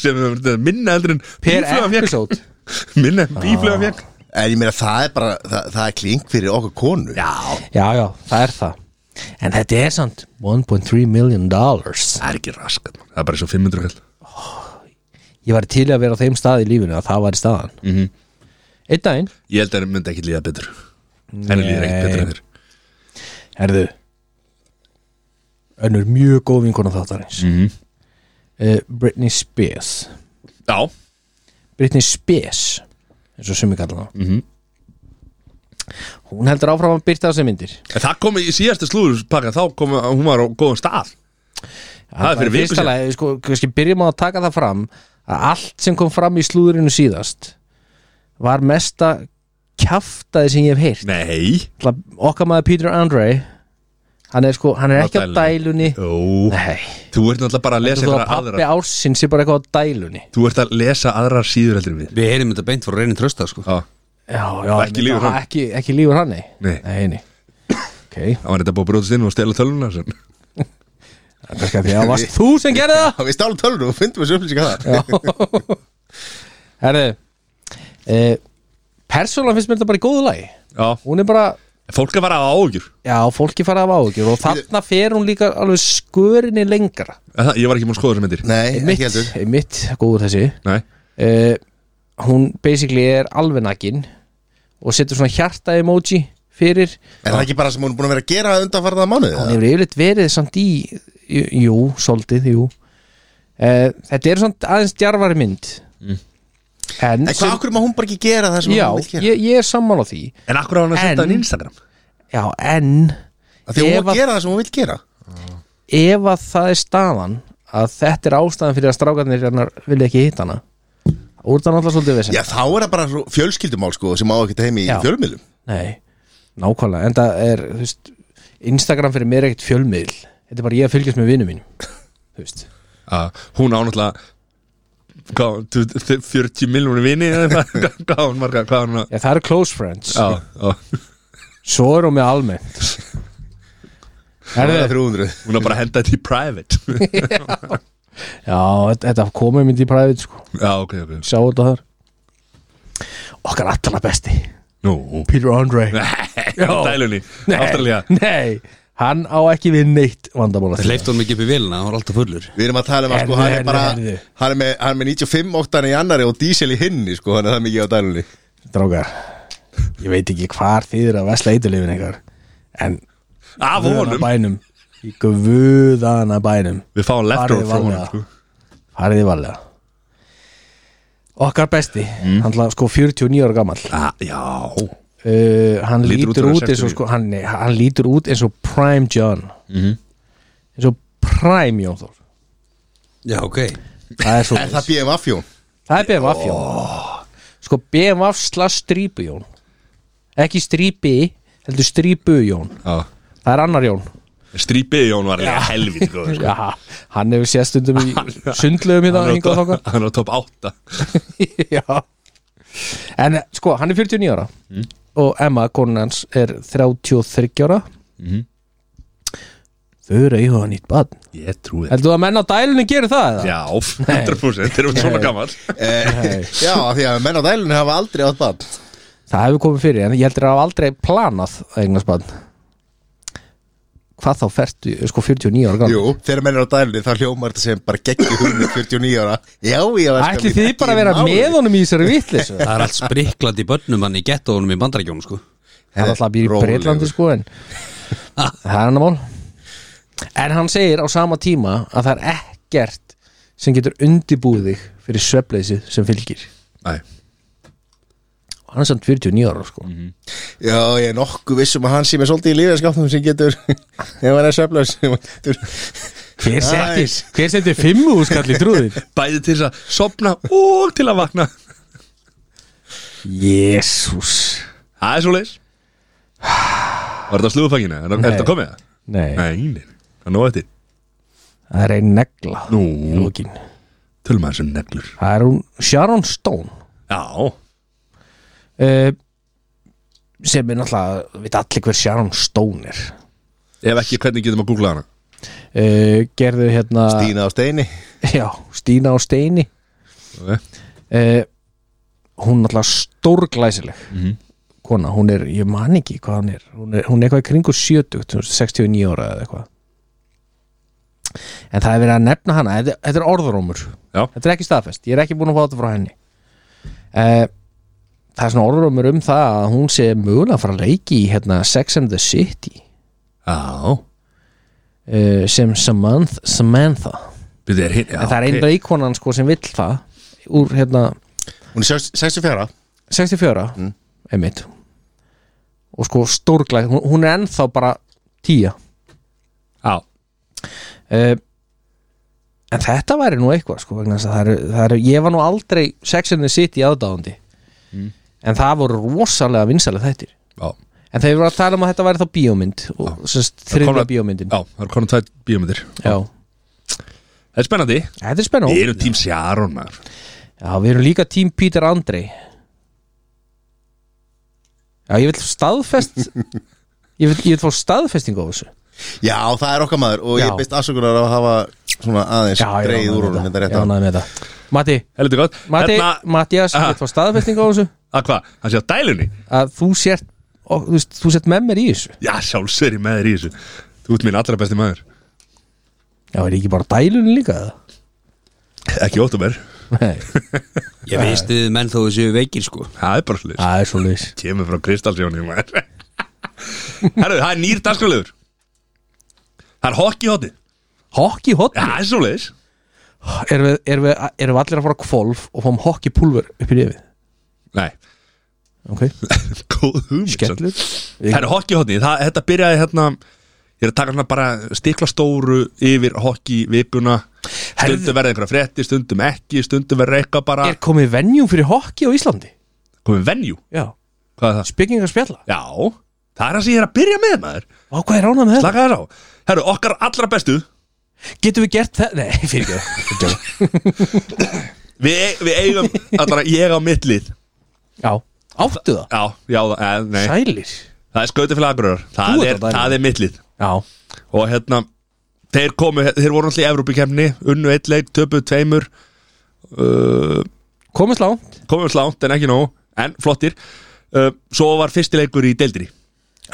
S1: sem er minna eldur en
S2: Per
S1: býflugan fékk.
S2: episode Ah.
S1: minna en bífluga fekk
S4: En ég meina það er bara, það, það er klink fyrir okkur konu
S1: Já,
S2: Já, já, það er það En þetta er samt 1.3 million dollars
S1: það er ekki raskat man. það er bara svo 500 kall
S2: Ég var til að vera á þeim stað í lífinu að það var í staðan mm
S1: Mhm.
S2: Einn daginn
S1: Ég held að henni myndi ekki líða betur henni líður ekkit betur en þér
S2: Herðu Önnur mjög góð vinkona þáttarins mm
S1: Mhm.
S2: -hmm. Britney Spears
S1: Já,
S2: Britney Spears eins og sumi kallar það mm
S1: Mhm.
S2: -hmm. Hún heldur áfram að byrta þessi myndir
S1: en það kom í síðastu slúðurpakka þá kom hún var á góðum stað Það er fyrir viku síðan.
S2: síðan sko, kannski Byrjum á að taka það fram að allt sem kom fram í slúðurinu síðast var mesta kjaftaði sem ég hef heyrt
S1: Nei,
S2: Ætla- Okkar maður Peter Andre Hann er sko, hann er ekki á dælunni
S1: Jú,
S2: Nei,
S1: þú ert náttúrulega bara að lesa
S2: þú að
S1: einhverja
S2: pappi
S1: aðra
S2: ársins er bara eitthvað á dælunni
S1: Þú ert að lesa aðrar síður heldur en við
S3: Við heyrim þetta beint frá reynin trösta sko
S1: Já,
S2: Já, já,
S1: Ekki
S2: ég meina,
S1: lýgur hann.
S2: Ekki, ekki lífur hann, nei
S1: Nei.
S2: nei, nei. Ok,
S1: það var þetta búið að brotast inn og stela tölvuna sem
S2: það er kannski að því að það varst þú sem gerði það
S4: Við stálum tölur og fundum þessu upplýsingar þar
S2: Herðu e, Persónulega finnst mér þetta bara í góðu lagi
S1: Já,
S2: Hún er bara,
S1: fólk er bara á ágjur
S2: já, fólki fara af áhugjur Og þarna fer hún líka alveg skörinni lengra
S1: Ég var ekki múin að skoða þessar myndir
S4: Nei, ekki heldur
S2: Mitt, mitt, góður þessi
S1: Nei,
S2: uh, Hún basically er alveg nakin Og setur svona hjarta emoji fyrir
S4: Er það ekki bara sem hún er búin að vera að gera undanfarða mánuði?
S2: Hún
S4: eða?
S2: hefur yfirleitt verið samt í Jú, soldið, jú uh, Þetta er svona aðeins djarfari mynd En,
S4: En hvað okkur má hún bara ekki gera það sem
S2: já,
S4: hún vil gera?
S2: ég, ég er sammála því
S1: en akkur á hann að
S2: En-
S1: senda hann Instagram
S2: Já, en
S4: Af Því að hún
S2: ef
S4: má
S2: að-
S4: gera það sem hún vil gera
S2: ef að það er staðan að þetta er ástæðan fyrir að strákarnir hennar vilja ekki hitta hana úr það náttúrulega svolítið við
S4: Já, þá er það bara svo fjölskyldumál sko sem á ekki heim í
S2: Já.
S4: fjölmiðlum
S2: Nei, nákvæmlega, en það er þú veist, Instagram fyrir mér er ekkert fjölmiðl þetta er bara ég að fylgjast með vinum mínum þú veist
S1: Já, Ah, Hún á náttúrulega hvað, 40 miljónir vini eða eitthvað? Hvað á hún marga, hvað á hún að
S2: Já, það eru close friends,
S1: Já, já,
S2: svo er hún með almennt
S4: Það er
S2: Herðu,
S4: 300
S1: hún er bara að henda þetta í private
S2: Já, þetta- þetta komið myndi í private sko.
S1: Já, ok, ok
S2: sjá þetta þar Okkar allra besti,
S1: Nú,
S2: Peter Andre
S1: dælunni,
S2: Nei,
S1: Ástralja
S2: Nei, hann á ekki við neitt vandamála
S3: Það hleypti honum ekki upp í vélina, hann var alltaf fullur
S4: Við erum að tala um að sko
S2: Herðu,
S4: hann er
S2: herðu,
S4: bara
S2: herðu.
S4: Hann er með, hann er með 95 óttan í annari og dísel í hinni sko Þannig að það er mikið á dælunni
S2: Drágar, ég veit ekki hvar þið er að vesla eitulifin einhver En
S1: Af
S2: guðana
S1: honum,
S2: bænum Í guðana bænum
S1: við fáum leftover
S2: Farið
S1: frá honum
S2: varlega.
S1: sko.
S2: Fariði varlega Okkar besti, hann er sko 49 ára gamall uh,
S1: Ah, Já,
S2: Hann
S1: Lítur
S2: lítur,
S1: út fyrir
S2: út eins
S1: 60.
S2: og sko, hann, nei, hann lítur út eins og Prime John Eins og Prime Jón Þór
S3: Já, ok
S2: Það er svo
S4: Er það BMF Jón?
S2: Það er BMF Jón Sko BMF slags strípu Jón Ekki strípi, heldur strípu Jón
S1: já
S2: Það er annar Jón
S1: Strípið Jón var líka helviti góður sko.
S2: Já, hann hefur séð stundum í sundlöfum í það
S1: Hann
S2: hingað og
S1: er á-
S2: þangað.
S1: hann er á topp 8
S2: Já En sko, hann er 49 ára og Emma, konan hans, er 33 ára Þau eru að íhuga nýtt badn
S1: Ég trúi þetta
S2: Heldur þú að menn á dælunni gerir það? eða?
S1: Já, 100% Þeir eru svona gammal
S4: Eh, Já, af því að menn á dælunni hafa aldrei átt bann
S2: Það hefur komið fyrir, en ég heldur að hafa aldrei planað að eignast badn Hvað þá fertu, sko 49 ára gamall?
S4: Jú, þegar menn er á dælunni þá hljómar þetta sem bara geggi hugmynd 49 ára Já, ég var
S2: Ætli þið bara að vera með honum í þessari vitleysu
S3: Það er allt spriklandi í börnum hann í gettóunum í bandarækjónum sko
S2: hann alltaf býr í
S4: Rólegur.
S2: Breitlandi sko en það er hann mál en hann segir á sama tíma að það er ekkert sem getur undibúið þig fyrir svefleysið sem fylgir
S1: Nei,
S2: og hann er samt 49 ára sko
S4: Já, ég er nokkuð vissum að hann sé með svolítið í lífeskapnum sem getur Ef hann er söflaus sem getur
S2: hver setti,
S4: Nice.
S2: hver setti fimmu skall í trúðin
S1: Bæði til þess að sopna og til að vakna
S2: jésús
S1: Það er svo leis Var þetta slúðfangina? Er er
S2: Nei.
S1: þetta komið? það?
S2: nei,
S1: Nei, nei, það er nóg eftir
S2: það er ein negla
S1: Nú.
S2: í lokin
S1: Tölum að þessum neglur
S2: það er hún Sharon Stone
S1: Já,
S2: uh, sem er náttúrulega við allir hver Sharon Stone er
S1: ef ekki hvernig getum að googla hana
S2: uh, gerðu hérna
S4: Stína á steini
S2: Já, Stína á steini
S1: Ok.
S2: eh, Hún er alltaf stórglæsileg
S1: Mhm.
S2: Kona, hún er, ég man ekki hvað hann er Hún er, hún er eitthvað í kringu 70 þú veist, 69 ára eða eitthvað En það er verið að nefna hana Þetta, þetta er orðrómur
S1: Já.
S2: Þetta er ekki staðfest, ég er ekki búin að fá þetta frá henni eh, Það er svona orðrómur um það að hún sé mögulega að fara að leiki í hérna, Sex and the City
S1: Já,
S2: eh, sem Samantha, Samantha.
S1: Byrðu, er hinn, já
S2: en það er
S1: ok.
S2: einra íkonan sko sem vill það úr hérna
S4: Hún er 64
S2: 64
S1: Mm.
S2: einmitt og sko stórglæð, hún, hún er ennþá bara tíja
S1: Já,
S2: uh, en þetta væri nú eitthvað sko vegna þess að það eru, það eru, ég var nú aldrei
S1: Mm.
S2: Sex and the City aðdáðandi en það voru rosalega vinsalega þættir
S1: já,
S2: En þeir voru að tala um að þetta væri þá bíómynd og sérst þriðja
S1: komnar-
S2: bíómyndin
S1: Já, það er konum tvær bíómyndir
S2: Já,
S1: Það er spennandi
S2: þetta er spennu
S1: Við erum tím Sjáron maður
S2: Já, við erum líka tím Peter Andrei Já, ég vil staðfest Ég vil, ég vil fá staðfestingu á þessu
S4: Já, það er okkar maður og
S2: Já.
S4: ég beist afsökunar á að hafa svona aðeins
S2: Já, ég
S4: greið
S2: ánægður
S4: úr
S2: með
S4: honum, þetta er
S2: Ég
S4: rétt að
S2: ánægður með þetta Matti,
S1: Helviti gott
S2: Matti, Mattias, ég
S1: Aha.
S2: vil fá staðfestingu á þessu
S1: að hvað, hann sé á dælunni
S2: að þú sért og, þú, veist, þú sért með mér í þessu
S1: Já, sjálfsögur ég með þér í þessu Þú ert minn allra besti maður
S2: Já, er ekki bara dælunni líka það?
S1: Ekki óttúmer,
S2: Nei,
S3: Ég veist við menn þó þessu veikir sko
S1: það er bara slið
S2: það er svo leis
S1: Kemur frá Kristalsjóni maður Herru, það er nýr dagskrálefur Það er hockeyhóti
S2: Hockey hot
S1: Já, það er svo leiðis
S2: erum við, erum, við, erum við allir að fara á kvolf og fáum hockey pulver upp í nefið
S1: Nei,
S2: Ok,
S1: góð hugmynd samt.
S2: skellur
S1: Það er hockeyhotni, það, þetta byrjaði hérna Ég er að taka hérna bara stikla stóru yfir hockeyvikuna Stundum verða einhverja frétti, stundum ekki Stundum verða eitthvað bara
S2: Er komið venjum fyrir hockey á Íslandi?
S1: Komum venju,
S2: Já,
S1: hvað er það?
S2: speaking að spjalla
S1: Já, það er það sem ég er að byrja með maður
S2: Vá, hvað er ránað með þetta?
S1: Slaka þess á Herru, okkar allra bestu
S2: Getum við gert það? Nei, fyrir ekki
S1: Við, við eigum allra, ég á mitt lið
S2: Já, áttu það?
S1: Já, já, eh, nei
S2: Sælir
S1: Það er skautið fyrir agrurar
S2: Þú
S1: Það
S2: ert
S1: er,
S2: á dæmi.
S1: það er mitt lið
S2: Já,
S1: og hérna þeir komu, þeir voru alltaf í Evrópikemni unnu eitt leik, töpu tveimur uh,
S2: komið slá
S1: komum slánt en ekki nóg en flottir uh, svo var fyrsti leikur í deildri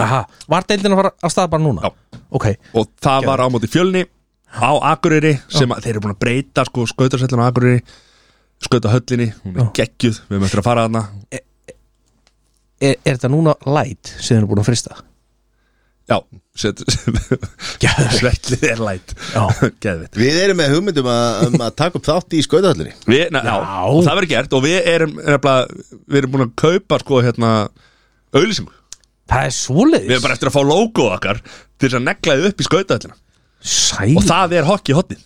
S2: Aha, var deildin að fara af stað bara núna? Já Ok,
S1: og það var á móti fjölni á Akureyri sem að, þeir eru búin að breyta sko skautarsellin á Akureyri skautahöllinni, hún er geggjuð við möttum að fara þarna
S2: er, er þetta núna light sem þeir eru búin að frista?
S1: já, set,
S2: Geðveikt.
S1: svellið er læt
S2: Já.
S1: geðvitt
S4: Við erum með hugmyndum að, um að taka upp þátt í skautahöllinni
S1: Við, na, já.
S2: Já.
S1: og það verður gert og við erum, nefnilega, við erum búin að kaupa sko hérna auðlýsingu
S2: Það er svoleiðis
S1: Við erum bara eftir að fá logoð okkar til þess að negla þið upp í skautahöllina
S2: Sælir
S1: og það er hokki hotnið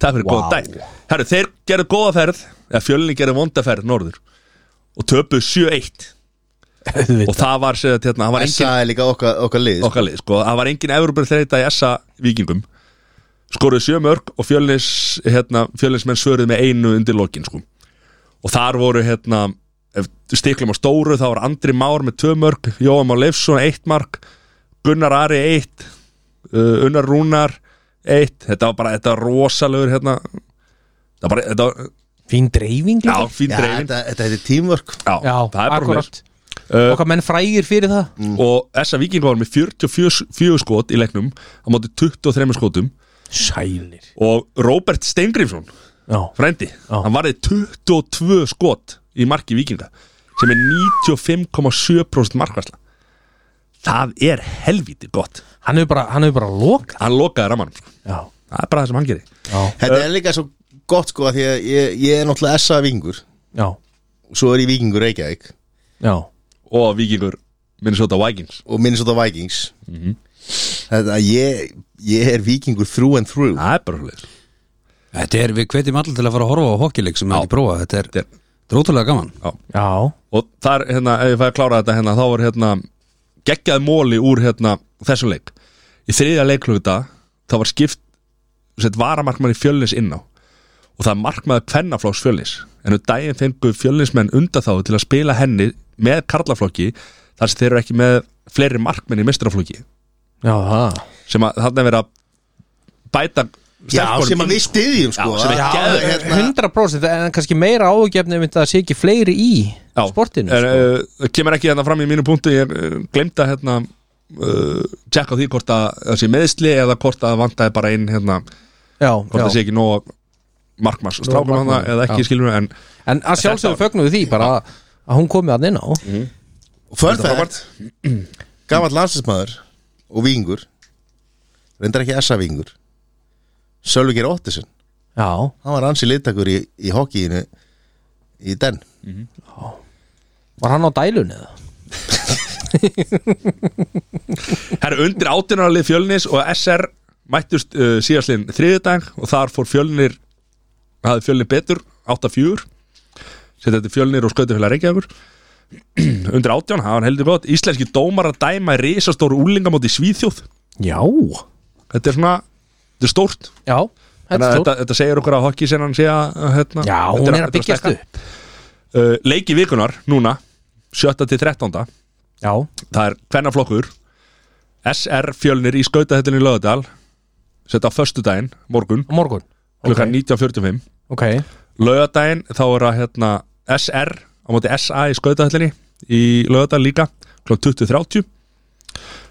S1: Það fyrir
S2: Vá.
S1: wow. góða dag Herru, þeir gerðu góða ferð eða fjölinni gerðu vonda ferð norður og töpuðu 7-1 og það var, sem sagt, hérna, það var engin
S4: Essa er líka okkar, okkar lið
S1: okkar lið, sko, það var engin Evropur þreita í essa vikingum skoruðu sjö mörg og fjölnis hérna, fjölnismenn svöruðu með einu undir lokin sko. og þar voru hérna, ef stiklum á stóru þá var Andri Már með tvö mörg, Jóam á Leifsson eitt mark, Gunnar Ari eitt uh, Unnar Rúnar eitt, þetta var bara þetta var rosalegur hérna það var bara, þetta var,
S2: Fín dreifing
S1: já,
S2: líka
S1: fín
S4: Já,
S1: dreifing já,
S4: þetta, þetta heitir teamwork
S2: Já,
S1: það er bara
S2: akkurat
S1: mér Uh,
S2: Okkar menn frægir fyrir það
S1: og þessa viking var með 44 skot í leiknum á móti 23 skotum
S2: Sælir
S1: og Robert Steingrímsson
S2: Já,
S1: frendi, hann varði 22 skot í marki vikinga sem er 95,7% markværsla það er helviti gott
S2: hann hefur bara, hann hefur bara lokað
S1: hann lokaði ramanum, sko.
S2: Já,
S1: það er bara það sem hann gerir
S2: já,
S4: Þetta er líka svo gott sko að því að ég, ég er náttúrulega essa vingur
S2: já,
S4: Svo er ég vikingur Reykjavík
S2: já
S1: og vikingur Minnesota Vikings
S4: og Minnesota Vikings Þetta að ég, ég er vikingur through and through
S1: það er bara hlutir
S3: Þetta er, við hvetjum allir til að fara að horfa á hockeyleik sem við ekki prófa, þetta er,
S1: Þetta er-
S3: þetta er ótrúlega gaman
S2: Já,
S1: og þar, hérna, ef ég fæði að klára þetta hérna, þá var hérna geggjaði móli úr hérna þessum leik í þriðja leikluta, þá var skipt sett varamarkmann í fjölnis inn á og það markmaði kvennaflóks fjölnis en um daginn fengu fjölnismenn undan þá til að spila henni með karlaflokki þar sem þeir eru ekki með fleiri markmenn í mistraflokki
S2: já, það
S1: sem að þarna er verið að bæta
S4: Já,
S1: stelpunum
S4: sem að
S1: inn,
S4: við styðjum sko
S1: Já, sem við
S4: að-
S1: geðum.
S4: að, hérna,
S2: 100% en kannski meira áhugjefni ef það sé ekki fleiri í
S1: Já,
S2: sportinu
S1: er,
S2: sko.
S1: uh, það kemur ekki hérna fram í mínu punktu ég uh, glemd að hérna uh, tjekka á því hvort að það sé meðsli eða hvort að það vantaði bara inn hérna,
S2: já,
S1: hvort það
S2: já.
S1: sé ekki nóg markmanns strákum hann
S2: markmanns,
S1: eða ekki
S2: já.
S1: skilur en
S2: en að sjálfsögum fögnuðu því bara að- að hún komið að inn á
S1: Mm.
S4: Fun fact Gamall landsinsmaður og vikingur Reyndar ekki essa vikingur Sölvigir Ottesen
S2: já,
S4: Hann var ansi liðtakur í, í hokkíinu í den
S2: var hann á dælun eða?
S1: herru undir átjánarlið fjölnis og SR mættust uh, síðastlinn þriðudag og þar fór fjölnir hafði fjölnir betur, 8-4 setja þetta fjölnir og skautafélag Reykjavíkur undir átján, það var heldur gott íslenski dómar að dæma í risastóru úlingamóti í Svíþjóð
S2: Já
S1: þetta er svona, þetta er stórt
S2: Já, þetta
S1: Þannig
S2: er
S1: að
S2: stór
S1: þetta, þetta segir okkur að hokki sem hann sé að hérna,
S2: Já,
S1: þetta
S2: hún er
S1: þetta
S2: að byggjast
S1: stækka.
S2: upp
S1: uh, Leiki vikunar, núna 7. til 13.
S2: Já,
S1: Það er kvennaflokkur SR fjölnir í skautahellinni í Lögadal Setta á föstudaginn, morgun
S2: á morgun
S1: klukkan 19.45
S2: Ok,
S1: Lögadaginn, þá er að hérna, SR á móti SA í skautahellinni í Lögadal líka klukkan 20.30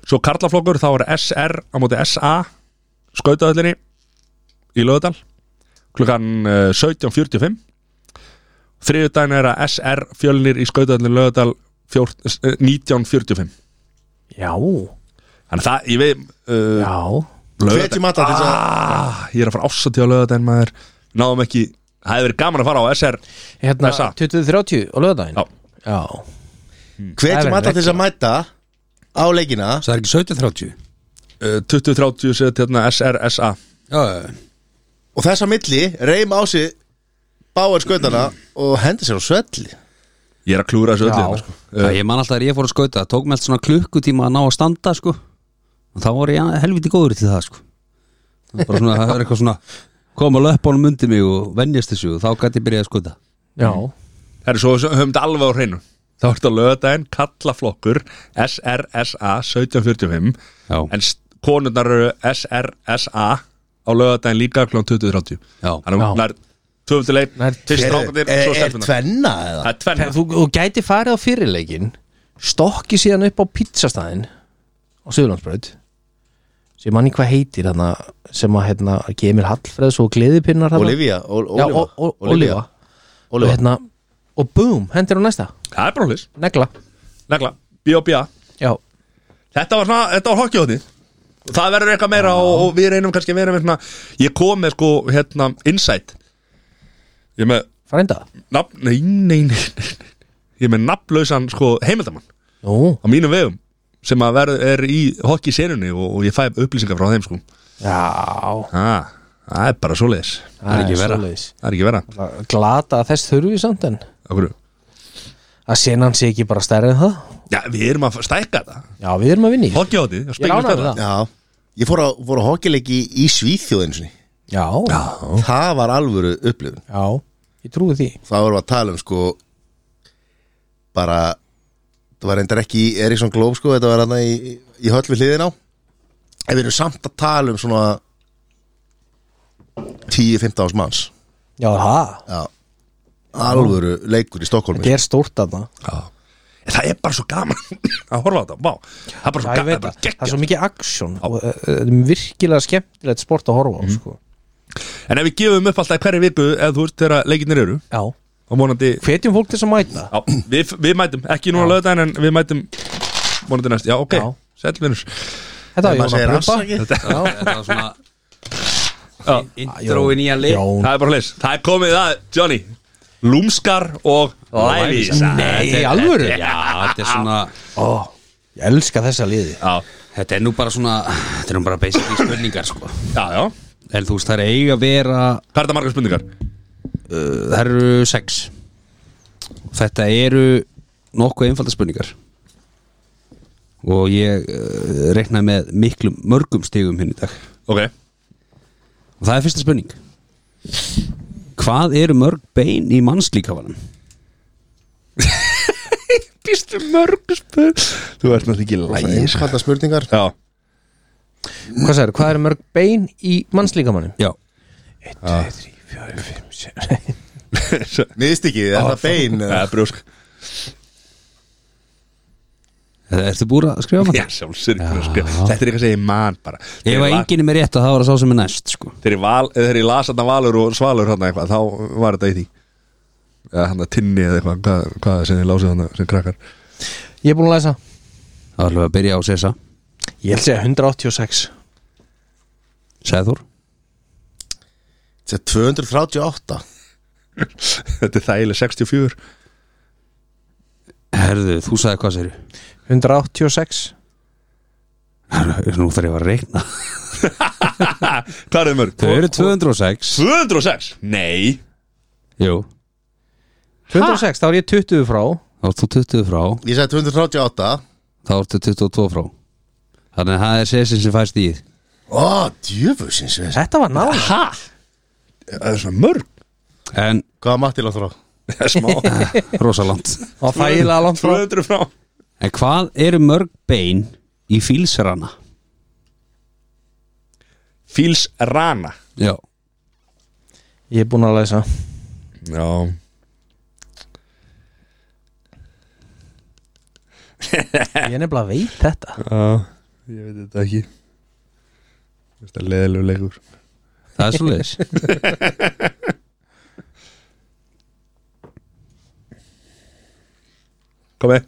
S1: Svo karlaflokkur, þá er SR á móti SA skautahellinni í Lögadal klukkan eh, 17.45 Þriðudaginn er að SR fjölnir í skautahellinni í eh, Lögadal 1945
S2: já
S1: Þannig að það, ég veit uh,
S2: Já,
S4: Hvetjum alla til þess að
S1: ah, Ég er að fara ásatíð á lögadaginn maður Náðum ekki, það hefði verið gaman að fara á SR
S2: hérna
S1: Þessa.
S2: 2030 á löðdæðin
S1: Já.
S2: já,
S4: Hvetjum
S2: Það er
S4: alla til þess að mæta á leikina
S3: það er ekki 17.30
S1: uh, 2030 set hérna SRSA
S3: Já, já, já.
S4: og þess að milli reym á sig báir skautana og hendi sér á svelli
S1: Ég er að klúra þessu
S2: Já.
S1: öllu hérna, sko.
S3: Já, ég man alltaf að ég fór að skauta tók með allt svona klukkutíma að ná að standa sko. og þá var ég helviti góður til það sko. Það var bara svona, það er eitthvað svona koma löpunum undir mig og venjast þessu og þá gæti ég byrjað að skauta
S2: já.
S1: Mm. Það er svo, svo höfum þetta alveg á hreinu Þá er þetta lögadaginn, kallaflokkur SRSA 1745
S3: Já,
S1: En s- konurnar eru SRSA á lögadaginn líka kl. 2030
S3: já,
S1: Þannig
S2: Já.
S1: að nær tvöfunduleik
S2: Nær-
S1: Fyrst
S4: Er,
S1: strákandir,
S4: er,
S1: svo
S4: er
S1: stelpunar
S4: Eh, tvenna eða?
S1: Það er tvenn
S2: Þú, þú gæti farið á fyrirleikin stokki síðan upp á pizzastæðin á Suðurlandsbraut sem manni hvað heitir hana, sem að hérna, Gemil Hallfreðs og Gleðipinnar hana.
S4: Olivia, Ol-
S2: Já, og, og, og, Olivia.
S4: Olivia
S2: Og,
S4: Olivia
S2: hérna, og boom, hendir á næsta
S1: Það er brólis,
S2: negla
S1: negla, B.O.B.A.
S2: já,
S1: Þetta var svona, þetta var hokkjóti Það verður eitthvað meira og, og við reynum kannski að vera með svona Ég kom með sko, hérna, insight Ég er með
S2: frænda
S1: nafn, nei, nei, nei, nei, nei. Ég er með nafnlausan, sko, heimildamann
S2: Nú,
S1: Á mínum vegum Sem að verð, er í hokki senunni og, og ég fæ upplýsingar frá þeim, sko
S2: já,
S1: ah, Það er bara svoleiðis
S2: það er ekki vera
S1: Það er ekki vera
S2: glata að þess þurfi samt en
S1: Akkur.
S2: að senan sé ekki bara stærri en það
S1: Já, við erum að stækka þetta
S2: já, við erum að vinni í þessu.
S1: Hokkjóti,
S2: Ég er ánægður með það.
S4: Já, ég fór á, fór á hockeyleiki í Svíþjóðinu sinni
S2: já, já,
S4: Það var alvöru upplifun
S2: ég trúi því
S4: Það vorum við að tala um sko bara það var endar ekki í Eriksson Globe sko þetta var hann í, í höll við hliðin á en við erum samt að tala um svona 10-15 ás manns
S2: já, það,
S4: Já Alvöru leikur í Stokkólmi
S2: þetta er stórt að það
S1: En það er bara svo gaman að horfa á þetta Vá, það er bara svo gaman,
S2: Já, ég
S1: það
S2: veit
S1: er bara
S2: það, það er
S1: geggjað
S2: svo mikið aksjón og uh, uh, þetta er virkilega skemmtilegt sport að horfa á sko.
S1: En ef við gefum upp alltaf hverju viku eða þú veist þegar leikinnir eru
S2: Já,
S1: og vonandi,
S2: hvetjum fólk til þess að mæta
S1: já, við, við mætum ekki núna lögðan en við mætum vonandi næst, já ok,
S2: Já.
S1: sælvinus
S2: Þetta var
S4: maður
S2: Jóna
S4: segir
S2: Brumba
S4: afsakið.
S2: Já,
S3: Þetta var svona
S1: Já.
S3: Intro í nýja leik
S2: Jón.
S1: Það er bara hlis, það er komið að Johnny, lúmskar og lævísa
S2: Nei, í alvöru
S3: Já, þetta er svona
S2: Ó, Ég elska þessa liði
S1: Já,
S3: Þetta er nú bara svona Þetta er nú bara basic spurningar sko
S1: já, já
S3: En þú veist, það er eiga að vera
S1: Hvað er það margar spurningar?
S3: uh, Það eru sex Þetta eru nokkuð einfalda spurningar Og ég uh, reiknaði með miklum mörgum stigum hinn í dag
S1: Ok,
S3: Og það er fyrsta spurning Hvað eru mörg bein í mannslíkafanum?
S1: býstu mörg spurning Þú ert náttúrulega ekki lægis
S4: Einfalda spurningar
S1: Já,
S2: Hvað sagður, hvað eru mörg bein í mannslíkamannum?
S3: Já
S2: 1, 2, 3, 4, 5, 6
S4: Miðstikið, er það bein
S1: það er brjósk
S3: Ertu búin að skrifa maður?
S1: Já, sjálfsögur Þetta er eitthvað sem ég man bara
S3: Ef að
S1: Þegar
S3: enginn er með rétt að það var að sá sem er næst sko.
S1: þegar ég, val, eða þegar ég las hann valur og svalur hann eitthvað, þá var þetta í því eða hann að tinni eða eitthvað hvað, hvað sem ég lásið hann sem krakkar
S2: Ég er búin að læsa
S3: Það var alveg að byrja á Sessa
S2: Ég held segja 186
S3: Sæður
S4: Þetta er 238
S1: þetta er þægileg 64
S3: Herðu, þú sagði hvað sér
S2: 186
S3: Nú þarf ég að reikna
S1: hvað er þau mörg?
S3: Þau eru 206
S1: 206? Nei
S3: Jú
S2: 206, þá er ég 20 frá
S3: þá ertu 20 frá
S4: Ég sagði 238
S3: þá ertu 22 frá þannig að það er sesin sem fæst í því.
S4: Ó, djöfusins veist.
S2: Þetta var náður
S1: Ha? Það er svona mörg
S3: en
S4: Hvað Matti látt frá?
S1: Það er smá
S3: rosaland
S2: Og þægilega langt frá
S1: 200 frá
S3: en hvað eru mörg bein í fílsrana
S1: Fíls rana
S3: já,
S2: Ég er búin að læsa
S1: Já
S2: Ég er nefnilega veit þetta
S1: Já Ég veit þetta ekki Þetta er leðilegu leikur
S3: það er svo leiðis
S1: Komi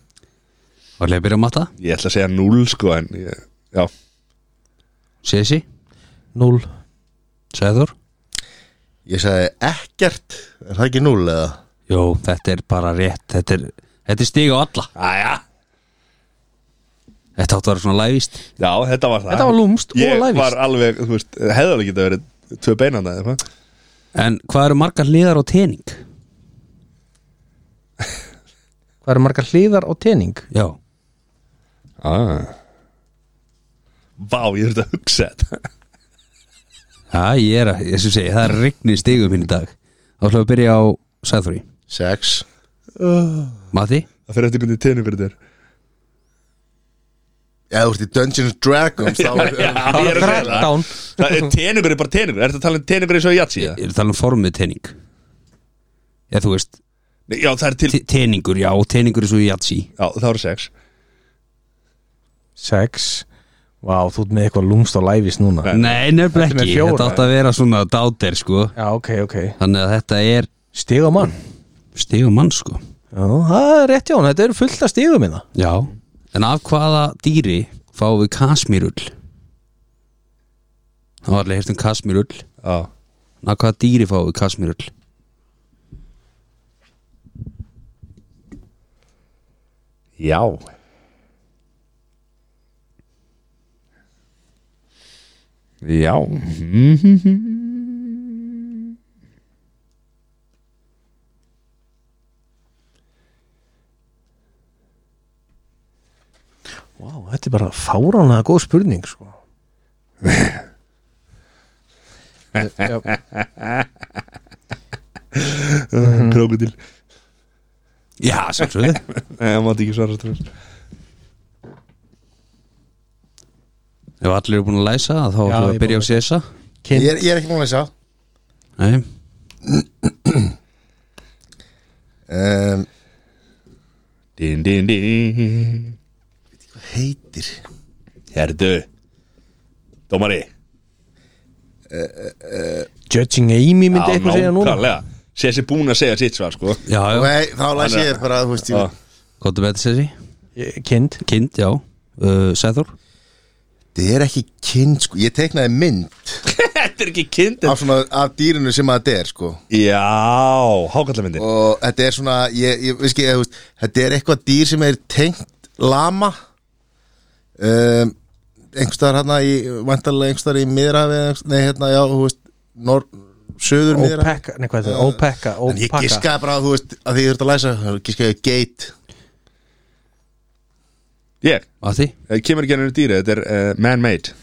S3: var leið að byrja að matta,
S1: Ég ætla að segja 0 sko en ég, Já
S3: sesi,
S2: 0
S3: sæður
S4: Ég sagði ekkert Er það ekki núl eða?
S3: jú, þetta er bara rétt þetta er, þetta er stig á alla
S1: Æja
S3: þetta átt að vera svona lævist
S1: Já þetta var það
S2: Þetta var lúmst og
S1: Ég
S2: læfist
S1: var alveg, þú veist, hefði alveg geta verið tvö beinanda eða hvað
S3: en hvað eru margar liðar á tening
S2: Hvað eru margar hliðar og tening?
S3: já,
S1: ah. Vá, ég þurfti að hugsa þetta
S3: já ég er að, ég sem segi, það er rigni stigum minn í dag þá ætlum við að byrja á sæður í
S4: Sex
S3: Mati,
S1: Það fyrir eftir hvernig tenni fyrir þér
S4: Já, þú ert í Dungeons and Dragons þá er-
S1: ég er að segja það.
S2: 13
S1: Það er teningur er bara teningur, ertu að tala um teningur eins og jatsi?
S3: ég er að tala um formið tening Já, þú veist,
S1: Nei, Já, það er til,
S3: te- teningur, já, teningur er svo í jatsi
S1: já það eru sex
S2: 6 Vá, þú ert með eitthvað lúmst og læfist núna
S3: Nei, nefnilega
S2: Þetta er með
S3: ekki,
S2: fjóra.
S3: þetta átt að vera svona dátir, sko
S2: Já, ok, ok
S3: Þannig að þetta er
S2: Stigamann
S3: stigum mann, sko
S2: Já, það er rétt hjá hún, þetta eru fullt af stigum hérna. minna
S3: Já En af hvaða dýri fáum við kasmírull? Það var allir heyrt um kasmírull
S1: Já,
S3: En af hvaða dýri fáum við kasmírull?
S1: já. Já
S2: Vá, þetta er bara fáránlega góð spurning sko. Já,
S1: Krókudil
S3: Já, sjálfsögðu
S1: Nei, það mátti ekki svara strax
S3: Ef allir eru búin að læsa það, þá
S2: Já,
S3: ætlum
S2: ég
S3: við að byrja á
S2: búin
S3: CSA
S4: ég, er, ég er ekki núl að lesa
S3: Nei,
S4: um,
S1: Din, din, din
S4: Heitir
S1: Herðu Dómari
S2: Judging Amy myndi eitthvað segja núna
S1: nákvæmlega Sér sér búin að segja sitt svar, sko
S3: já, já,
S4: Nei, þá læs ég þér bara, þú veist
S1: Já.
S4: ég
S3: gott að betur sér
S2: Ég- Kind
S3: Kind, já, uh, Sæður
S4: Þetta er ekki kynnt, sko Ég teiknaði mynd
S1: Þetta er ekki kind
S4: af, svona, af dýrinu sem að þetta er, sko
S1: Já, hákallamyndin
S4: Og þetta er svona, ég, ég veist ekki, þú veist Þetta er eitthvað dýr sem er tengt lama um, Einhverstaðar hérna í Vantarlega einhverstaðar í miðrafi eða einhvers- Nei, hérna, já, þú veist Norr, söður miðrafi
S2: Opeka, nei hvað er þetta, Opeka
S4: En ég
S2: Opeka
S4: giskaði bara, þú veist, að því ég þurfti að læsa Giskaði ég gate
S1: Ég,
S3: Mati
S1: það kemur ekki ennur dýri Þetta er uh, man-made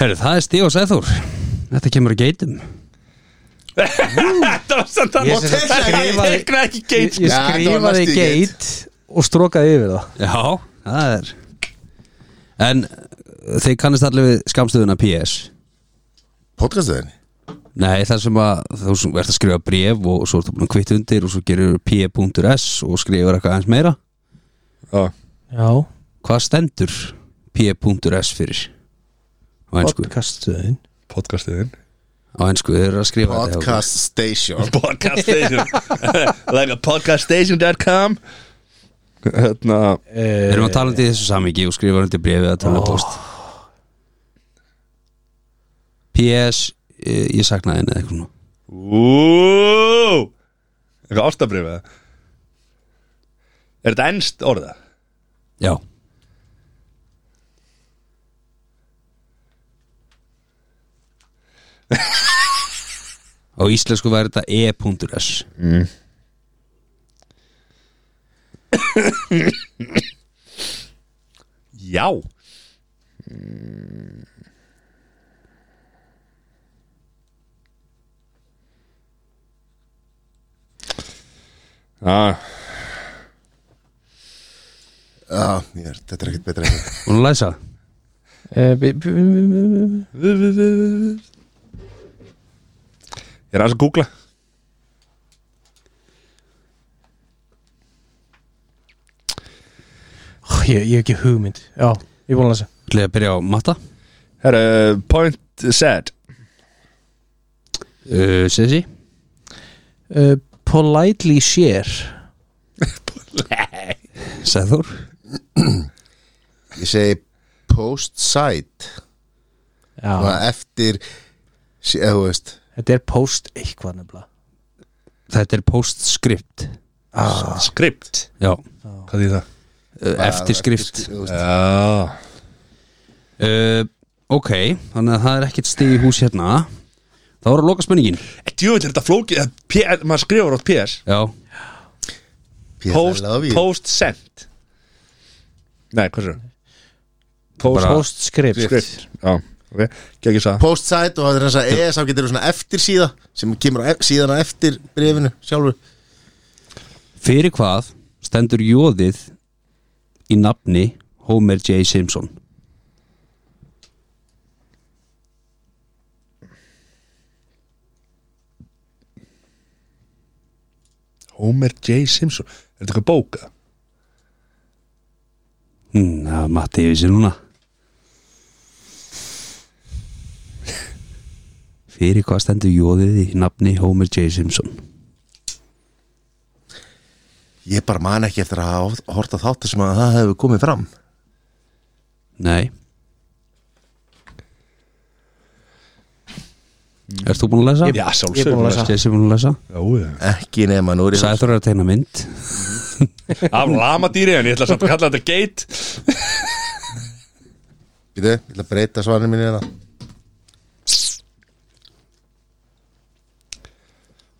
S3: Herru, það er Stíg og Sæþór Þetta kemur að geitum
S1: Þetta var samt að
S2: Ég sem sagt skrifaði-
S1: Tekna ekki
S2: Ég
S1: geit
S2: ég
S4: Já, þetta var
S2: skrifaði
S4: næstu í geit.
S2: geit og strókaði yfir það
S3: Já, það er En uh, þeir kannast allir við skamstöðuna PS
S4: Podcastuðinni?
S3: Nei, það sem að þú sem ert að skrifa bref og svo ertu búin að kvitt undir og svo gerir p.s og skrifur eitthvað aðeins meira
S1: Já,
S2: Já,
S3: Hvað stendur p.s fyrir? Á ennsku,
S2: podcastuðin
S1: podcastiðin
S3: á ennsku, þeir eru að skrifa þetta hjá okkur.
S4: Podcast Station
S1: Podcast Station Like a podcaststation.com Hérna
S3: Þeir eru að tala um þetta í þessu samingi og skrifa undir brefið að tala um post PS, eh, ég saknaði henni eða eitthvað nú
S1: Ú Eitthvað ástabrif eða Er þetta ennst orða?
S3: Já Á íslensku væri þetta e.s
S1: Já Já,
S4: Já, ég er, þetta er ekkert betra en ég.
S3: Hún er að læsa
S2: Eh, bi- bi- bi- bi- bi- bi-
S1: Ég er aðeins að googla
S2: Ó, Ég ég hef ekki hugmynd Já, ég er búin að lesa
S3: Ætlaði að byrja á matta
S1: Herru, point said
S3: uh, Sessi
S2: uh, Politely share
S3: Sæður
S4: Ég segi post site
S2: Já,
S4: Svona eftir sí- eða þú veist
S2: þetta er post eitthvað nefnilega
S3: Þetta er postscript
S1: Skript
S3: Já
S1: Ah. Hvað því það?
S3: uh, Eftirskrift
S4: þú veist,
S1: Já
S3: uh, Ok Þannig að það er ekkert stig í hús hérna Það voru að loka spenningin
S1: Djúvill er þetta flókið að P- Maður skrifur átt PS
S3: Já
S4: P.S. I
S1: Post,
S4: love you.
S1: post sent Nei, hvað sér? Post,
S3: Bara-
S2: Post script
S1: skrift Já, ok, geggjum það
S4: post site og það er þess að ES þá getur þú svona eftir síða sem kemur á ef- síðan á eftir brefinu sjálfur
S3: Fyrir hvað stendur jóðið í nafni Homer J. Simpson?
S1: Homer J. Simpson Er þetta eitthvað bóka?
S3: Hmm, Það er matti yfir sér núna Fyrir hvað stendur jóðið í nafni Homer J. Simpson?
S4: ég bara man ekki eftir að hafa horta þáttu sem að það hefur komið fram
S3: Nei Ert þú búin að lesa?
S1: Já,
S2: ég er
S1: sjálfsögur
S2: búin að lesa.
S3: Sessi búin að lesa?
S1: Já,
S4: ekki nema nú er ég
S3: Sæður er að teina mynd
S1: já Af lamadýri, en ég ætla samt að kalla þetta gate
S4: Bíddu, ég ætla að breyta svarinu mínu hérna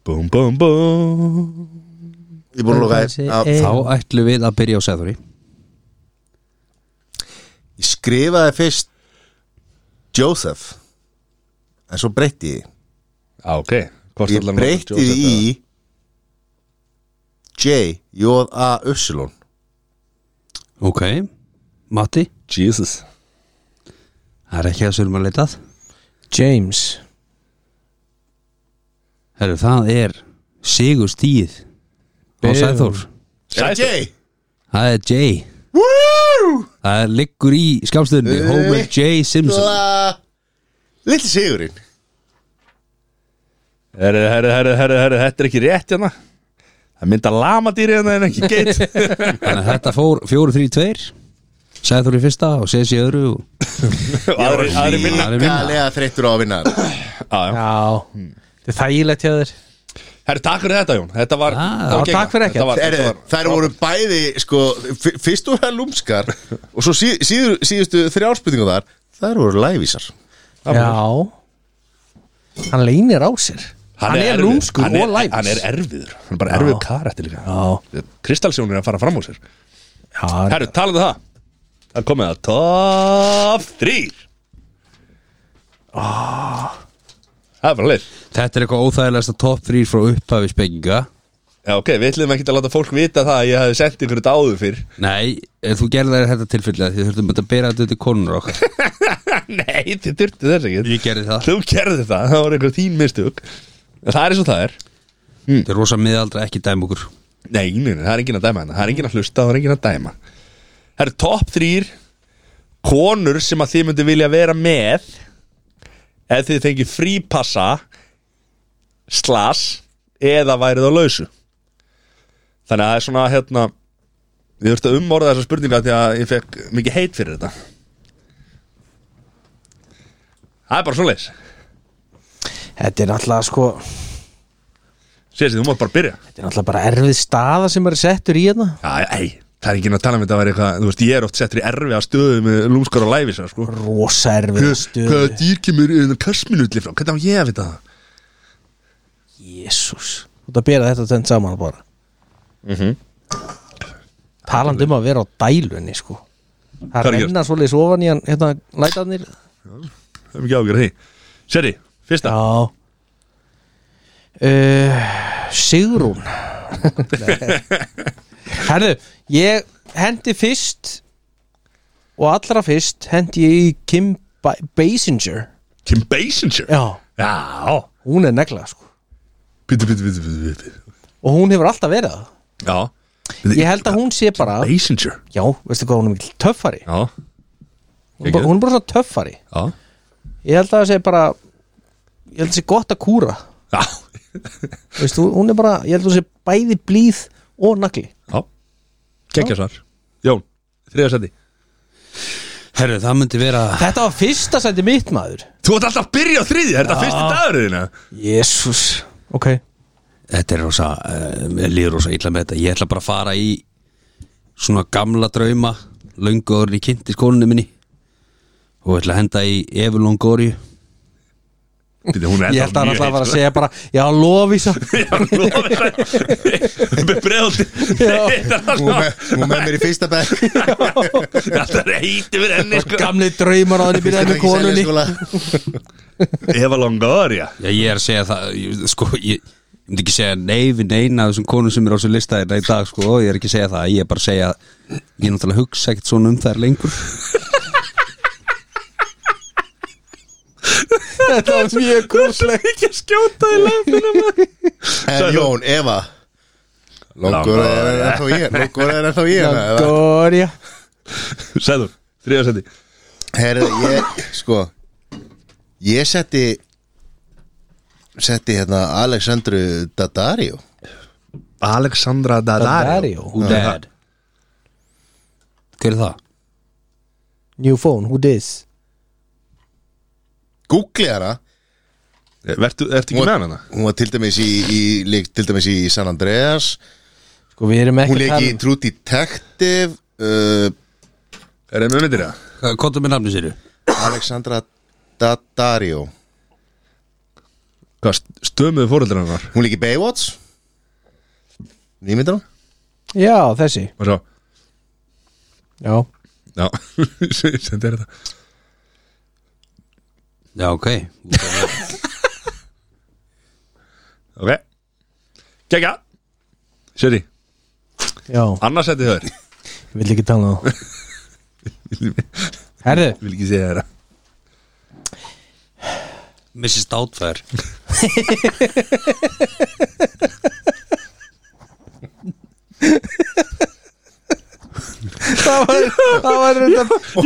S1: Búm, búm, búm
S4: ég er búin að loka
S2: Þessi
S4: að
S2: ein-
S3: Þá ætlum við að byrja á Sæðuri
S4: ég skrifaði fyrst Joseph en svo breytti ég
S1: Já, Ah, ok Hvort ætlar
S4: því. ég
S1: hann að
S4: breytti
S1: djósa
S4: því í
S1: þetta?
S4: J, J, A, Upsilon
S3: Ok Matti,
S1: Jesus
S3: það er ekki það sem við erum að leitað
S2: James
S3: Herru, það er Sigur Stíð á
S2: Bum.
S3: Sæþór
S4: Er það J?
S3: Það er Jay
S4: Woo!
S3: Það er liggur í skamstöðinni Homer J. Simpson
S4: Lill Sigurinn
S1: Herru, herru, herru, herru, herru, þetta er ekki rétt hérna Það mynda lamadýri hérna en ekki gate
S3: Þannig að þetta fór 4-3-2 Sæþór í fyrsta og Sessi í öðru og
S1: Og aðri, aðri minna
S3: Aðrir vinna.
S4: Gælega þreyttur á að vinna þetta.
S1: Já, já.
S2: Já, þetta er þægilegt hjá þér
S1: Herru, takk fyrir þetta Jón Þetta var
S3: Já,
S1: þetta var
S2: Ah, já, takk
S1: geggjað.
S2: fyrir ekkert.
S1: Þetta var-
S4: Heyrðu,
S1: þetta var-
S4: Þær voru bæði sko, f- Fyrst voru það lúmskar Og svo síð, síður, síðustu þrjárspurningu þar Þær voru lævísar
S2: Já Hann leynir á sér Hann, er
S1: erfiður.
S2: lúmskur
S1: Hann er-
S2: og læmis
S1: Hann er erfiður, hann er bara erfiður karætti líka
S2: Já.
S1: Kristalsjón er að fara fram úr sér
S2: Já, hann-
S1: Herru, talaðu um það Það er komið að top 3 Ah. Það er bara leir
S3: Þetta er eitthvað óþægilegasta top 3 frá upphafi spenginga
S1: Já, ok, við ætlum ekki að láta fólk vita það að ég hafði sendt ykkur þetta áður fyrr
S3: Nei, ef þú gerðir þetta tilfellega því þurftum bara að bera þetta til konur okkar
S1: Nei, þið þurftu þess ekki
S3: Ég gerði það
S1: Þú gerði það, það var einhver þín mistök En Það er eins og það er
S3: Þetta er rosa miðaldra ekki dæm okkur
S1: Nei, nei, nei, það er enginn að dæma hana Það er enginn að hlusta, það er enginn að dæma Það eru topp þrýr Konur sem að þið myndi vilja vera með Ef þið fengi frípassa Slas Eða værið á lausu Þannig að það er svona hérna Við þurfum að umorða þessa spurninga Því að ég fekk mikið heit fyrir þetta Það er bara svoleiðis
S2: Þetta er náttúrulega sko
S1: Sér þú mátt bara byrja
S2: Þetta er náttúrulega bara erfið staða sem er settur í hérna
S1: Já, ei, það er ekki að tala um þetta að vera eitthvað Þú veist, ég er oft settur í erfiða stöðu með lúmskar og læfisa, sko
S2: Rosa erfið
S1: Hvaða
S2: stöð
S1: dýr kemur innan kassminutli frá? Hvernig á ég að vita það?
S2: Jésús Þú ert að bera þetta tönn saman bara talandi um að vera á dælunni sko það
S1: Hvað er að
S2: renna svolítið ofan í hann hérna lætarnir
S1: Það er ekki ágjörð því Seri, fyrsta
S2: já uh, Sigrún herðu ég hendi fyrst og allra fyrst hendi ég í Kim ba Basinger
S1: Kim Basinger
S2: já
S1: Já
S2: hún er negla sko
S1: Pítu, pítu, pítu, pítu, pítu
S2: og hún hefur alltaf verið það
S1: Já
S2: ég held að hún sé bara
S1: Basinger
S2: já veistu hvað hún er mikil töffari
S1: Já
S2: hún er bara- hún er bara svona töffari
S1: Já
S2: ég held að það sé bara ég held að það sé gott að kúra
S1: Já
S2: Veistu, hún er bara, ég held að hún sé bæði blíð og nagli
S1: Já Kekja svar Jón, þriða seti
S3: Herru, það myndi vera
S2: þetta var fyrsta sæti mitt maður
S1: Þú ert alltaf að byrja á þriði, er þetta fyrsti dagur þína?
S2: jésús ok,
S3: Þetta er rosa, uh, mér líður rosa illa með þetta Ég ætla bara að fara í svona gamla drauma löngu orðin í kynnti skólinni minni og ætla að henda í Evu Longóriu
S1: Býtu, hún er
S2: ég held að hann alltaf var að segja bara já, lofísa
S1: Sko, segja Með bregðaldi
S2: Já.
S1: Þetta er alltaf
S4: Hún með, hún með mér í fyrsta bekk
S1: Þetta er heiti við henni sko
S2: gamli draumar á henni byrjaði með konunni
S4: sko,
S1: Eva Longoria
S3: Já, ég er að segja það ég, sko, ég, ég myndi ekki segja nei við neina af þessum konum sem er á þessu lista hérna í dag sko, og ég er ekki að segja það, ég er bara að segja ég er náttúrulega að hugsa ekkert svona um þær lengur
S2: þetta var mjög kúrsleg
S1: Ekki að skjóta í lefnina maður
S4: En Jón, Eva Longur er ennþá ég Longur er ennþá ég eða?
S2: Doria
S1: Sæður, þriða seti
S4: Herðu, ég, sko Ég setti Setti hérna Alexandru Daddario
S1: Alexandra
S2: Daddario
S3: Who dad? Hver er það?
S2: new phone, who dis
S4: Google hana
S1: Ertu Eh, ertu ekki
S4: Hún
S1: með
S4: var-
S1: hana?
S4: Hún var til dæmis í, í, leik, til dæmis í San Andreas
S2: sko, við erum
S4: Hún
S2: ekki að
S4: leik í
S2: tala um-
S4: True Detective uh,
S1: Er það með myndir það?
S3: Kontum með nafni séru
S4: Alexandra Daddario
S1: Hvað, stömuðu fóröldur hennar?
S4: Hún leik í Baywatch Nýmyndar hún
S2: já, þessi,
S1: Og svo,
S2: já
S1: já, sendi þér þetta
S3: Já, ok
S1: Ok Kekja Seri,
S2: já,
S1: annars seti þau
S2: ég vil ekki tala um það herðu
S1: Vil ekki segja þér
S3: Mrs. Doubtfire
S2: það var, það var reynda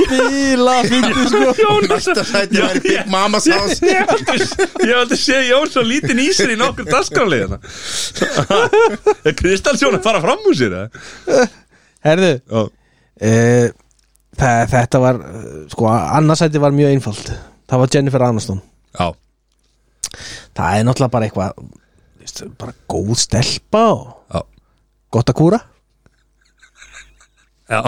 S2: bíla fyndi sko
S4: Næsta sæti væri Big Mama's House
S1: Ég valdi að sé Jón svo lítinn í sér í nokkur dasgrálega Er Kristalsjón að fara fram úr sér? eða?
S2: herðu,
S1: Já,
S2: uh, þetta var eh, sko, annarsæti var mjög einfalt það var Jennifer Aniston
S1: já
S2: það er náttúrulega bara eitthvað veist, bara góð stelpa og
S1: Já,
S2: gott að kúra
S1: já.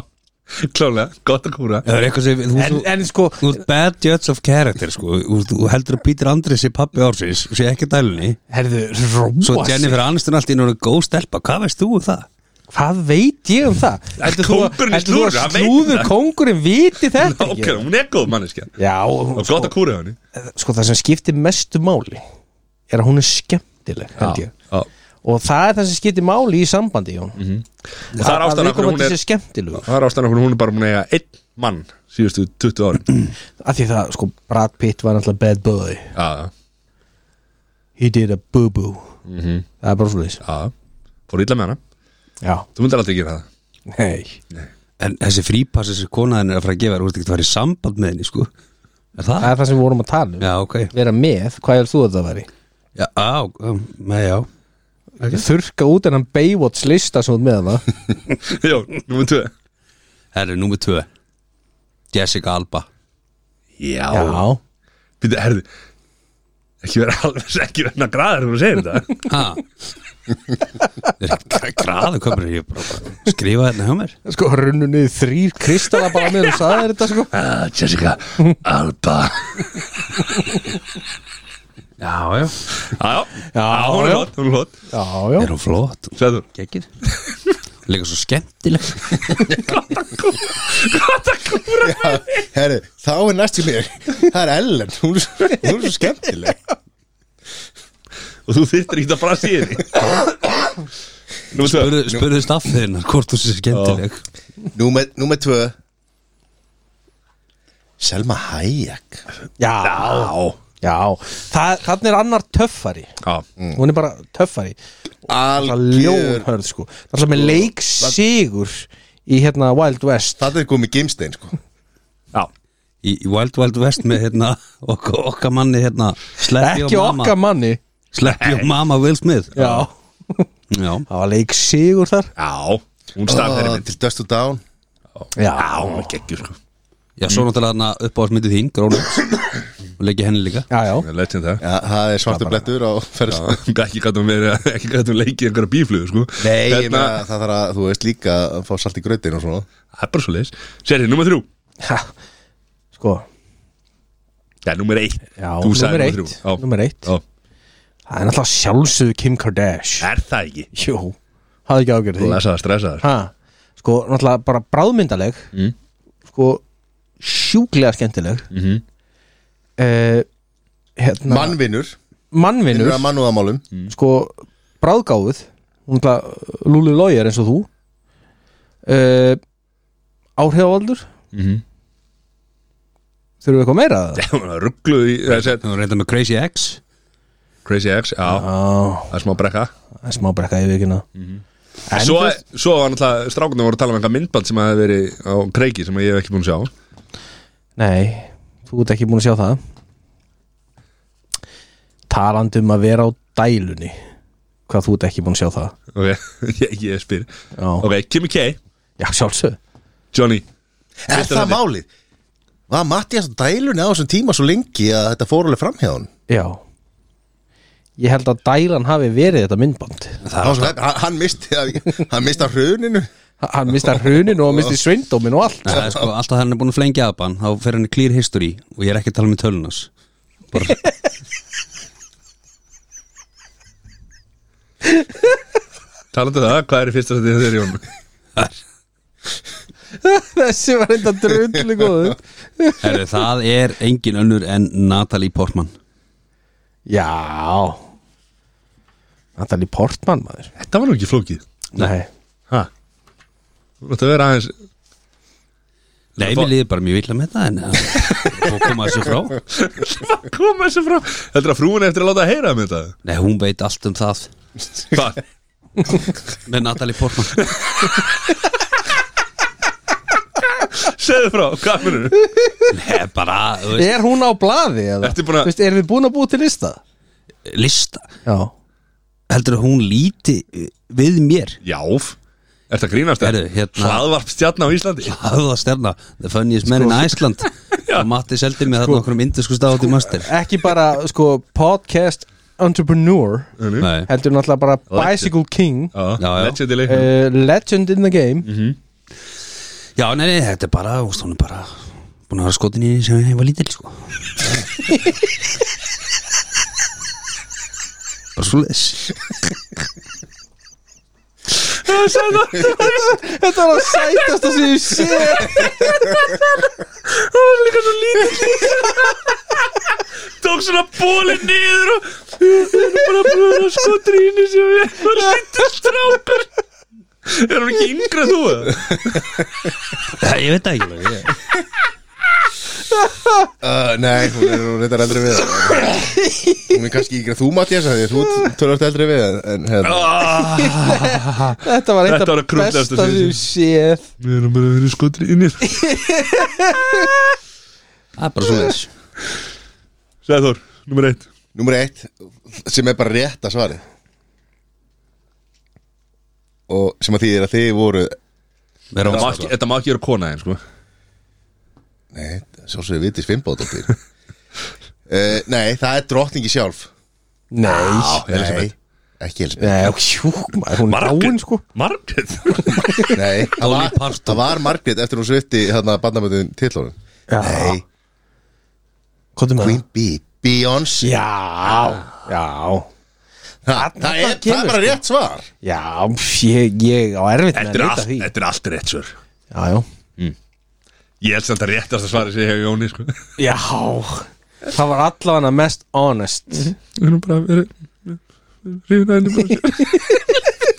S1: Klálega, gott að kúra
S3: Það er eitthvað sem þú-
S2: en,
S3: þú-
S2: en sko,
S3: Þú ert bad judge of character sko. Þú- Þú heldur að Peter Andrés sé pappi ársins og sé ekki dælunni
S2: herðu,
S3: Svo
S2: róa sig
S3: Jennifer Aniston allt í náttúrulega góð stelpa Hvað veist þú um það?
S2: hvað veit ég um það? Heldur þú að-
S1: kóngurinn í
S2: heldur þú að
S1: slúðrinu, hann veit
S2: slúður
S1: það.
S2: kóngurinn viti þetta
S1: Ok,
S2: ekki?
S1: hún er góð manneskja
S2: Já,
S1: Og
S2: sko,
S1: gott að kúra henni
S2: sko það sem skiptir mestu máli er að hún er skemmtileg held ég
S1: já
S2: og það er það sem skiptir máli í sambandi Jón
S1: Mhm. Og það er ástæðan af
S2: að
S1: hverju hún
S2: hún
S1: er
S2: er skemmtileg
S1: Það er ástæðan okkur hún er bara múin að eiga einn mann síðustu 20 árin
S2: af því það, sko, Brad Pitt var náttúrulega bad boy
S1: Já,
S2: he did a boo boo
S1: Mhm.
S2: það er bara svolítið
S1: já Fór illa með hana
S2: já,
S1: Þú myndir aldrei gera það
S2: nei
S3: En þessi frípass þessi konaðin er að fara að gefa þér, Þú ert ekki að fara í samband með henni sko. Er það?
S2: það er það sem við vorum að tala um
S3: Já, ok
S2: vera með, hvað er þú að það væri
S3: Já, á, um, nei, já
S2: þurka út en hann Baywatch lista sem þú ert með hana
S1: Jó, númer 2
S3: Herru, númer tvö Jessica Alba
S2: já,
S1: Býtu, herðu Ekki vera alveg, ekki vera græðar hún segir þetta
S3: Ha? Er ekki græðu komur Ég bara, bara skrifa hérna hjá mér
S2: sko, runnu niður þrýr kristalla bara með og sagði þér þetta sko
S1: Ah, Jessica Alba
S3: Já, já
S1: Já, já,
S2: Já,
S1: hún er
S2: já.
S1: hlott, hún er hlott
S2: já, já,
S3: Er hún flott?
S1: Sæður,
S3: Gekir Líka svo skemmtileg
S4: Já, herri, þá er næst í mér Það er Ellen, hún, er svo- hún er svo skemmtileg
S1: og þú þyrtir ekki að brasi í því Nú veist það
S3: Spurðu- Spurðu staffin hvort þú sé skemmtileg
S4: Númer, númer tvö Selma Hayek
S2: Já, já. Þa, Þannig er annar töffari
S1: Já,
S2: Hún er bara töffari Það er
S4: Mm. Algjör
S2: ljónhörð sko Það er svo með leik sigur Í hérna Wild West
S4: Það er komið gimstein sko
S1: já
S3: Í í Wild Wild West með hérna ok, okkar manni hérna Sleppi
S2: Ekki
S3: og
S2: okkar
S3: mamma
S2: manni
S3: Sleppi og mamma Will Smith
S2: Já,
S3: Já.
S2: það var leik sigur þar
S1: Já, hún starf þeirri
S4: Ah,
S1: mynd
S4: Til Dust to Down
S1: Já,
S2: Já,
S1: hún er geggjur sko
S3: Já, svo náttúrulega hann að uppáðsmyndið þín, Grónus og leggja henni líka
S2: já, já
S1: Legend það
S4: Já, það er svartu blettur á ferð
S1: ekki gætum verið, ekki gætum leikið einhverja bíflöðu sko
S4: Nei, ég
S1: Hérna,
S4: meina, það þarf að, þú veist líka að fá salt í grötin og svona
S1: það er bara svo leis Serið, nummer þrjú
S2: ha. Sko,
S1: Já, nummer eitt
S2: já,
S1: Þú sagði
S2: nummer eitt,
S1: þrjú. Já.
S2: nummer eitt.
S1: Já.
S2: Það er náttúrulega sjálfsögðu Kim Kardashian
S1: Er það ekki?
S2: Jú, hafði ekki ágjörð því
S1: Lesaða, stressaða
S2: ha. Sko, náttúrulega bara bráðmyndaleg
S1: Mm.
S2: Sko, sjúklega skemmtileg mm
S1: Mhm.
S2: -hmm. Hérna
S4: Mannvinur,
S2: Mannvinur
S4: vinnur að mannúðamálum
S2: sko bráðgáfuð hún ætla Lúli Lóger eins og þú uh, áhrifavaldur
S1: Mhm.
S2: þurfum við eitthvað meira að það?
S1: Ruggluð í þessi
S3: Þú reynda með Crazy X
S1: Crazy X, já,
S2: Já,
S1: það er smá brekka
S2: það er smá brekka yfir ekki en
S1: Mhm. Svo,
S2: þú veist-
S1: svo var náttúrulega strákunum voru að tala um einhver myndband sem hafi verið á kreiki sem ég hef ekki búin að sjá
S2: nei, þú ert ekki búin að sjá það talandi um að vera á dælunni hvað þú ert ekki búin að sjá það
S1: Ok, ég, ég spyr
S2: já,
S1: Ok, Kimi K,
S2: já sjálfsög
S1: Johnny
S4: Er
S1: Fyrsta
S4: það
S1: röndin.
S4: málið? Var Mattias á dælunni á þessum tíma svo lengi að þetta fór alveg framhjá hann?
S2: já ég held að dælan hafi verið þetta myndband
S4: Hann, hann, hann misti, hann misti af hruninu
S2: Ha- hann misti hruninu og misti sveindómin og allt
S3: Það er sko, alltaf hann er búin að flengja upp hann þá fer hann í Clear History og ég er ekki að tala um með tölunas bara,
S1: Talandi um það, hvað er í fyrsta setið þegar Jón?
S2: Þessi var enda drullu góðu
S3: herri, Það er engin önnur en Natalie Portman
S2: Já Natalie Portman maður
S1: Þetta var nú ekki flókið
S2: Nei
S1: Ha? Þú mátt að vera aðeins
S3: Nei,
S1: Það-
S3: mér liði bara mjög vilja með það en eh, og koma þessu frá
S1: Hvað kom þessu frá? Heldur að frúin eftir að láta að heyra um þetta?
S3: Nei, hún veit allt um það
S1: Hvað?
S3: með Natalie Portman
S1: Segðu frá, hvað munur?
S3: Nei, Eh, bara, þú veist,
S2: Er hún á blaði eða?
S1: Ertu búin að-
S2: Þú veist, erum við búin að búa til lista?
S3: lista
S2: Já
S3: heldur að hún líti eh, við mér
S1: Jáf Ertu að grínast það?
S3: Herru, hérna-
S1: Hlaðvarp stjarn á Íslandi
S3: Hafða stjarna, The Funniest Men in Iceland og Matti seldi mig þarna okkur um indisku státt í master
S2: Ekki bara, sko, podcast entrepreneur
S3: Nei,
S2: Heldur náttúrulega bara Bicycle King
S1: Já,
S3: já.
S1: legend í leiknum
S2: uh, Legend in the game
S3: Já, nei, nei, þetta er bara, þú veist, hún er bara búin að vera skotin í henni sem ég var lítil, sko Bara svo leis
S2: Þetta var að sætast að séu sér
S1: Tók svona bólinn niður og Það er bara að brúða skotur í henni sem ég var lítið strákur Er hún ekki yngri en þú? eða?
S3: Ég veit það ekki alveg, ég-
S4: uh, Nei, hún er hún reyndar eldri við hann. Hún er kannski ykkur þú Mattias af því að Þú tölvart eldri við hann, en hérna
S2: Þetta var eitt
S1: Þetta var
S2: af
S1: að krúllast
S2: besta
S1: að
S2: sem
S1: séu
S2: ég séð
S1: Við erum bara að vera skotur í henni
S3: Það er bara svo leis
S1: Segðu Þór, nummer eitt
S4: Númer eitt, sem er bara rétt að svari Og sem að því er að þið voru
S3: Vera
S1: Þetta
S3: á
S1: má ekki- Þetta má ekki vera kona einn sko
S4: Nei, svo sem við vitið svimbóðdóttir uh, Eh, Nei, það er drottningi sjálf
S2: Nei
S4: Nei, ekki Elisabeth
S2: Nei, hjúk maður, hún er
S1: Margrét.
S2: dáin sko
S1: Margrét
S4: Nei, það
S3: Dolly
S4: var,
S3: Parton.
S4: það var Margrét eftir hún svipti hérna bandamöndin tillónum
S2: Já.
S4: Nei,
S2: Hvað er
S4: Queen Bee, Beyoncé
S2: Já, já
S4: Ha, Það er það er bara rétt svar
S2: Já, pff, ég, ég á erfitt með
S1: Þetta
S2: að
S1: er
S2: leita
S1: allt-
S2: því
S1: þetta er allt rétt svör
S2: Já, já
S1: Ég held samt að réttast að svara sér hjá Jóni sko.
S2: Já Það var allavega mest honest
S1: Við erum bara verið Rífin að henni bara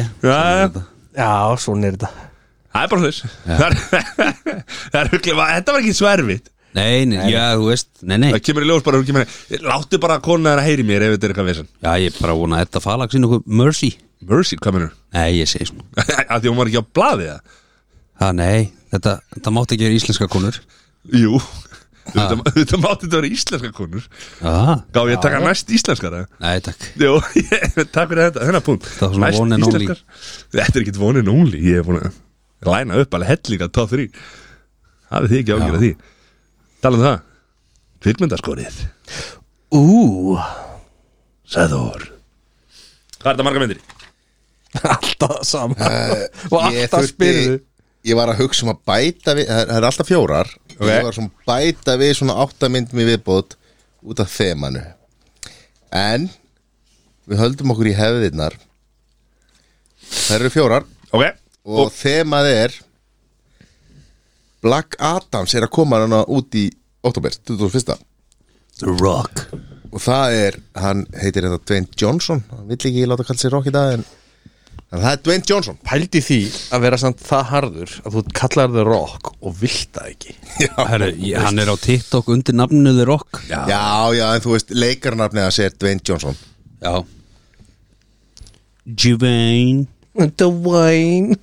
S1: Já, já.
S2: Já, svona er þetta
S1: Það er bara þess Það er- það er huglega Þetta var ekki svo erfitt
S3: Nei, nei, já, þú veist, nei, nei
S1: Það kemur í ljós bara hún kemur, Láttu bara konuna þeirra heyri mér ef þetta er eitthvað vesen
S3: Já, ég bara vona að þetta falag sinni okkur mercy
S1: Mercy, hvað mennur?
S3: Nei, ég segi svona
S1: Af því hún var ekki á blaði það
S3: Það, nei, þetta, þetta mátti ekki vera íslenska konur
S1: Jú Þetta þetta mátti þetta vera íslenska konur
S3: Já,
S1: Gá ég að taka næst íslenskara
S3: nei, takk
S1: Jú, ég, takk fyrir þetta, þennan punkt
S3: Það var svona
S1: Næst
S3: one and only.
S1: íslenskar- Þetta er ekkit vonin only Ég er búin að læna upp alveg helling að top 3 Hafið þið ekki ágjörð því Talum það Kvikmyndaskorið
S2: Ú,
S1: Sæður Hvað er þetta marga myndir?
S2: alltaf sama Og
S4: Ég
S2: alltaf
S4: þurfti-
S2: spyrðu
S4: Ég var að hugsa um að bæta við Það er- það er alltaf fjórar Ég var svona að bæta við svona áttamyndum í viðbót Út af þemanu En Við höldum okkur í hefðirnar Það eru fjórar
S1: Ok
S4: Og, þemað er Black Adams er að koma hana út í Óttobér, 2001
S3: The Rock
S4: og það er, hann heitir þetta Dwayne Johnson, hann vill ekki láta kalla sér Rock í dag en, en það er Dwayne Johnson
S2: Pældi því að vera samt það harður að þú kallar þau rock og vilt það ekki
S3: Herru, ég, hann er á TikTok undir nafninu The Rock Já,
S4: Já, já, en þú veist, leikarnafnið hans er Dwayne Johnson
S3: já Juvain
S2: Dwayne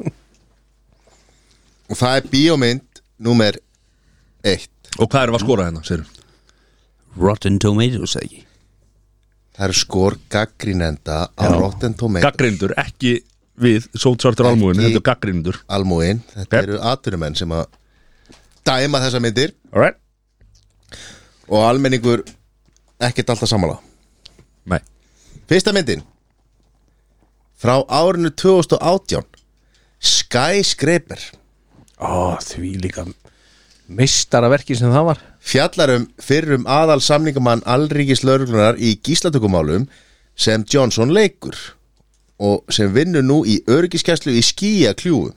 S4: og það er bíómynd númer eitt
S1: Og hvað erum við að skora hérna, sérum?
S3: Rotten Tomatoes, eða ekki
S4: það eru skor gaggrinenda á Rotten Tomatoes
S1: Gaggrindur, ekki við Sótsvartur almúin,
S4: Ekki-
S1: þetta er gaggrindur
S4: almúin, þetta
S1: Ok.
S4: eru atvinnumenn sem að dæma þessa myndir
S1: Alright
S4: og almenningur ekkert alltaf samanlega
S1: Nei
S4: Fyrsta myndin frá árinu 2018 Skyscraper
S2: Ó, því líka meistaraverki sem það var
S4: fjallar um fyrrum aðal samningamann allríkis lauruglunar í gíslatökumálum sem Johnson leikur og sem vinnur nú í öryggiskeslu í skýja kljúum.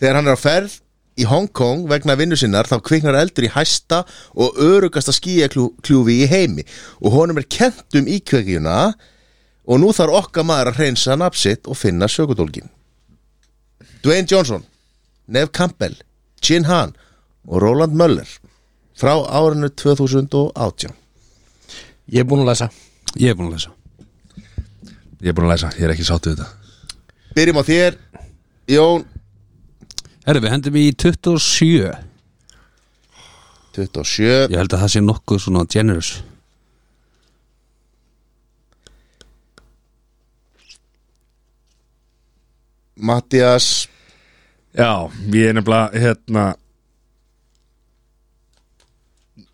S4: Þegar hann er á ferð í Hong Kong vegna vinnu sinnar þá kviknar eldur í hæsta og örugasta skýja kljúfi í heimi og honum er kent um íkveikjuna og nú þarf okkar maður að hreinsa nafsitt og finna sögudólgin. Dwayne Johnson Nev Campbell, Jin Han og Roland Möller frá árinu 2018
S2: Ég er búin að lesa
S3: Ég er búin að lesa
S1: Ég er búin að læsa, ég er ekki sáttu við þetta
S4: Byrjum á þér Jón
S3: Herru, við hendum í 27
S4: 27
S3: Ég held að það sé nokkuð svona generous
S4: Mattias
S1: Já, ég er nefnilega, hérna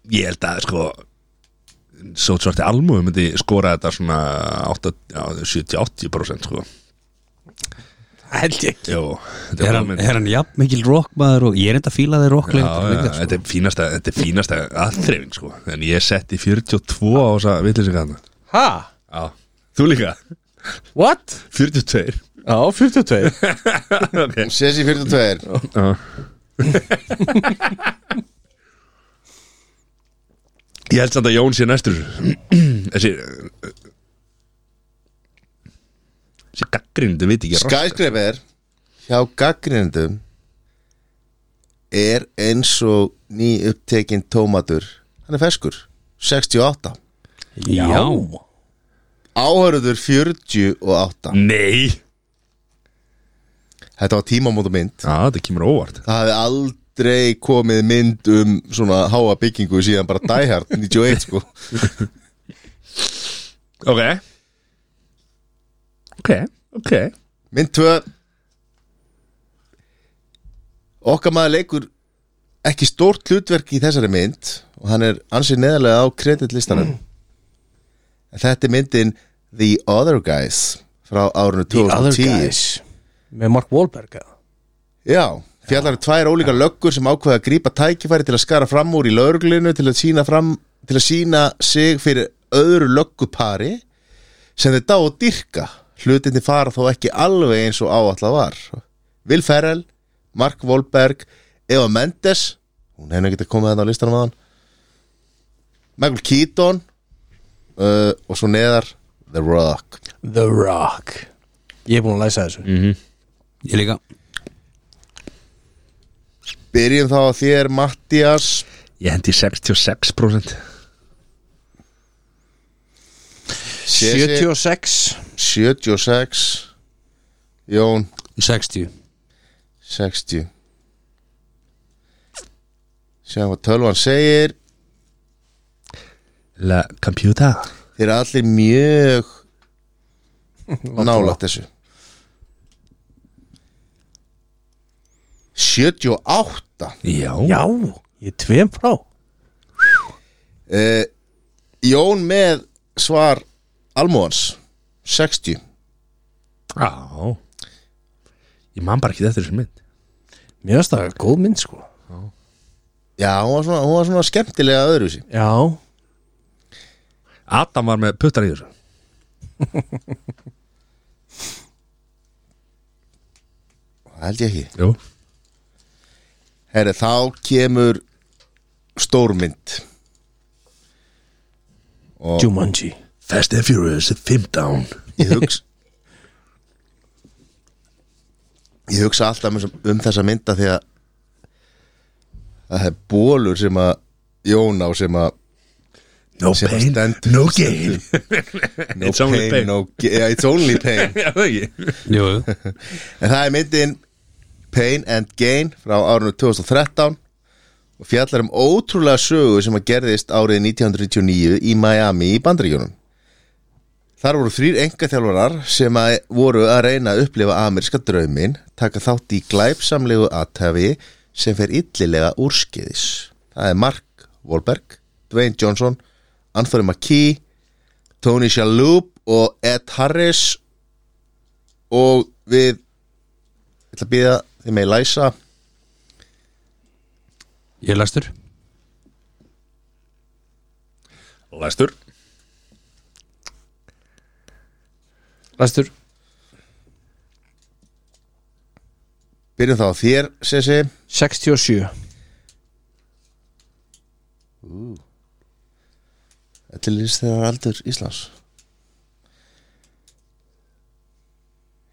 S1: Ég held að, sko Sótsvartur almúin myndi skora þetta svona 8 já, 70-80% sko
S2: Held ég
S1: Jó, þetta
S3: Er
S1: bara
S3: hann,
S1: mynd.
S3: er hann jafn mikil rockmaður og ég er enda að fíla þið
S1: Já,
S3: rockleik
S1: já, þetta
S3: sko?
S1: er fínasta, þetta er fínasta aðþrefing sko En ég setti 42 á þessa vitlisingarna
S2: Ha?
S1: Já, þú líka
S2: What?
S1: 42
S2: Já, 52
S1: okay.
S4: Sessi 42
S1: Já. Ég held samt að Jón sé næstur Þessi uh, Þessi gaggrindu veit ekki Ska
S4: Skyscraper hjá gaggrindum er eins og ný upptekinn tómatur hann er feskur 68
S3: Já,
S4: áhörður 48
S1: Nei
S4: þetta var tímamóta mynd
S1: Já, þetta kemur á óvart
S4: það hefði aldrei komið mynd um svona háa byggingu síðan bara Die Hard 91 sko
S1: Ok Ok, ok
S4: mynd 2 okkar maður leikur ekki stórt hlutverk í þessari mynd og hann er ansið neðarlega á kreditlistanum
S2: Mm.
S4: en þetta er myndin The Other Guys frá árinu
S2: The other
S4: 2010
S2: guys Með Mark Wahlberg eða?
S4: já, fjallar um tvær ólíkar löggur sem ákveða að grípa tækifæri til að skara fram úr í lögreglinu til að sína, fram, til að sína sig fyrir öðru löggupari sem þeir dá og dyrka hlutinni fara þó ekki alveg eins og áallar var Will Ferrell, Mark Wahlberg Eva Mendes hún hefði ekki komið þetta á listanum aðan Michael Keaton uh, og svo neðar The Rock
S2: The Rock Ég er búin að læsa þessu
S3: Ég líka
S4: Byrjum þá að þér Mattias
S1: Ég hendi 66%
S2: 76
S4: 76 Jón
S3: 60
S4: 60 Sjáum hvað tölvan segir
S1: La computer
S4: Þeir eru allir mjög nálægt þessu 78
S1: Já,
S2: Já, ég er tveim frá
S4: eh, Jón með svar Almóans 60
S1: Já. Ég man bara ekki þetta þessu mynd
S2: Mér finnst það góð mynd sko
S4: Já, hún var svona, hún var svona skemmtilega öðruvísi
S2: Já,
S1: Adam var með puttar í þessu
S4: Það held ég ekki
S1: Jú
S4: Herri, þá kemur stórmynd
S2: Jumanji
S1: Fast and Furious 15
S4: Ég hugsa Ég hugsa alltaf um, um þessa mynda því að að það er bólur sem að Jón á sem að
S1: No
S4: Sem að
S1: pain,
S4: stendur-
S1: no gain
S4: no
S1: It's only pain.
S4: No, ga- yeah, it's only pain
S1: Já, það ekki
S3: Jú, jú
S4: En það er myndin Pain and Gain frá árinu 2013 og fjallar um ótrúlega sögu sem að gerðist árið 1999 í Miami í Bandaríkjunum. Þar voru þrýr engaþjálfarar sem að voru að reyna að upplifa ameríska draumin, taka þátt í glæpsamlegu aðtafi sem fer illilega úrskeiðis. Það er Mark Wahlberg, Dwayne Johnson, Anthony McKee, Tony Shalhoub og Ed Harris og við ég ætla að býða þið með læsa
S3: Ég er læstur
S1: Læstur
S2: Læstur
S4: byrjum þá á þér Sessi
S2: 67
S4: til lýst þegar aldur Íslands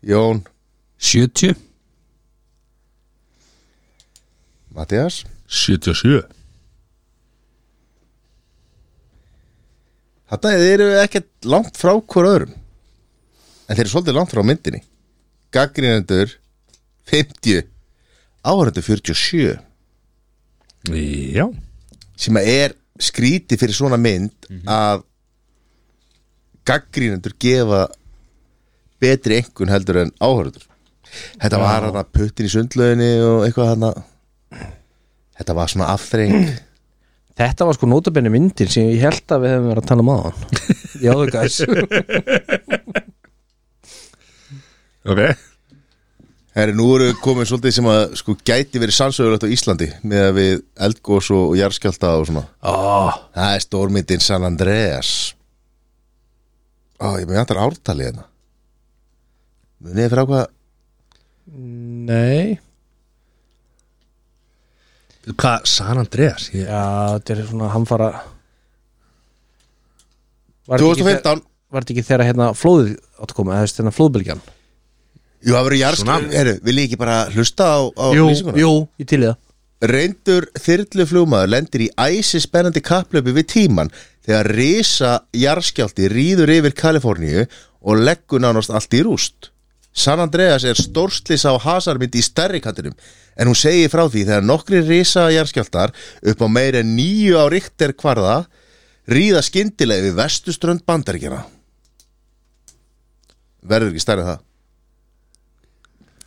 S4: Jón
S3: 70
S4: Mattias
S1: 77
S4: Þetta þið eru ekkert langt frá hver öðrum en þeir eru svolítið langt frá myndinni Gaggrinendur 50 áhörundur 47
S1: Já
S4: sem að er skríti fyrir svona mynd
S2: Mhm.
S4: að gaggrínendur gefa betri engun heldur en áhörður þetta var hann að puttin í sundlöginni og eitthvað hann að þetta var svona afþreng
S2: Þetta var sko nótabenni myndin sem ég held að við hefum verið að tala um aðan Já, þú gæs
S1: Ok
S4: Herri, nú eru við komin svolítið sem að sko gæti verið sannsögulegt á Íslandi með að við eldgós og, og jarðskjálta og svona
S2: oh,
S4: það er stórmyndin San Andreas Ó, ég með antar ártalið hérna Munið frá hvað
S2: Nei
S1: Hvað, San Andreas? Ég...
S2: Já, þetta er svona hamfara Var þetta ekki þegar-
S4: 2015
S2: Var þetta ekki þegar hérna flóðið átt að koma eða þú veist hérna flóðbylgjan
S4: Jú, það verður jarðskjálfti, herru, vil ég ekki bara hlusta á, á lýsinguna?
S2: jú, ég til í það
S4: Reyndur þyrluflugmaður lendir í æsi spennandi kapplöpu við tíman þegar risa jarðskjálfti rýður yfir Kaliforníu og leggur nánast allt í rúst. San Andreas er stórslis á hasarmynd í stærri kattinum en hún segir frá því þegar nokkri risa jarðskjálftar upp á meira en nýju á ríkter kvarða rýða skyndilega við vestuströnd bandaríkjana. Verður ekki stærri en það.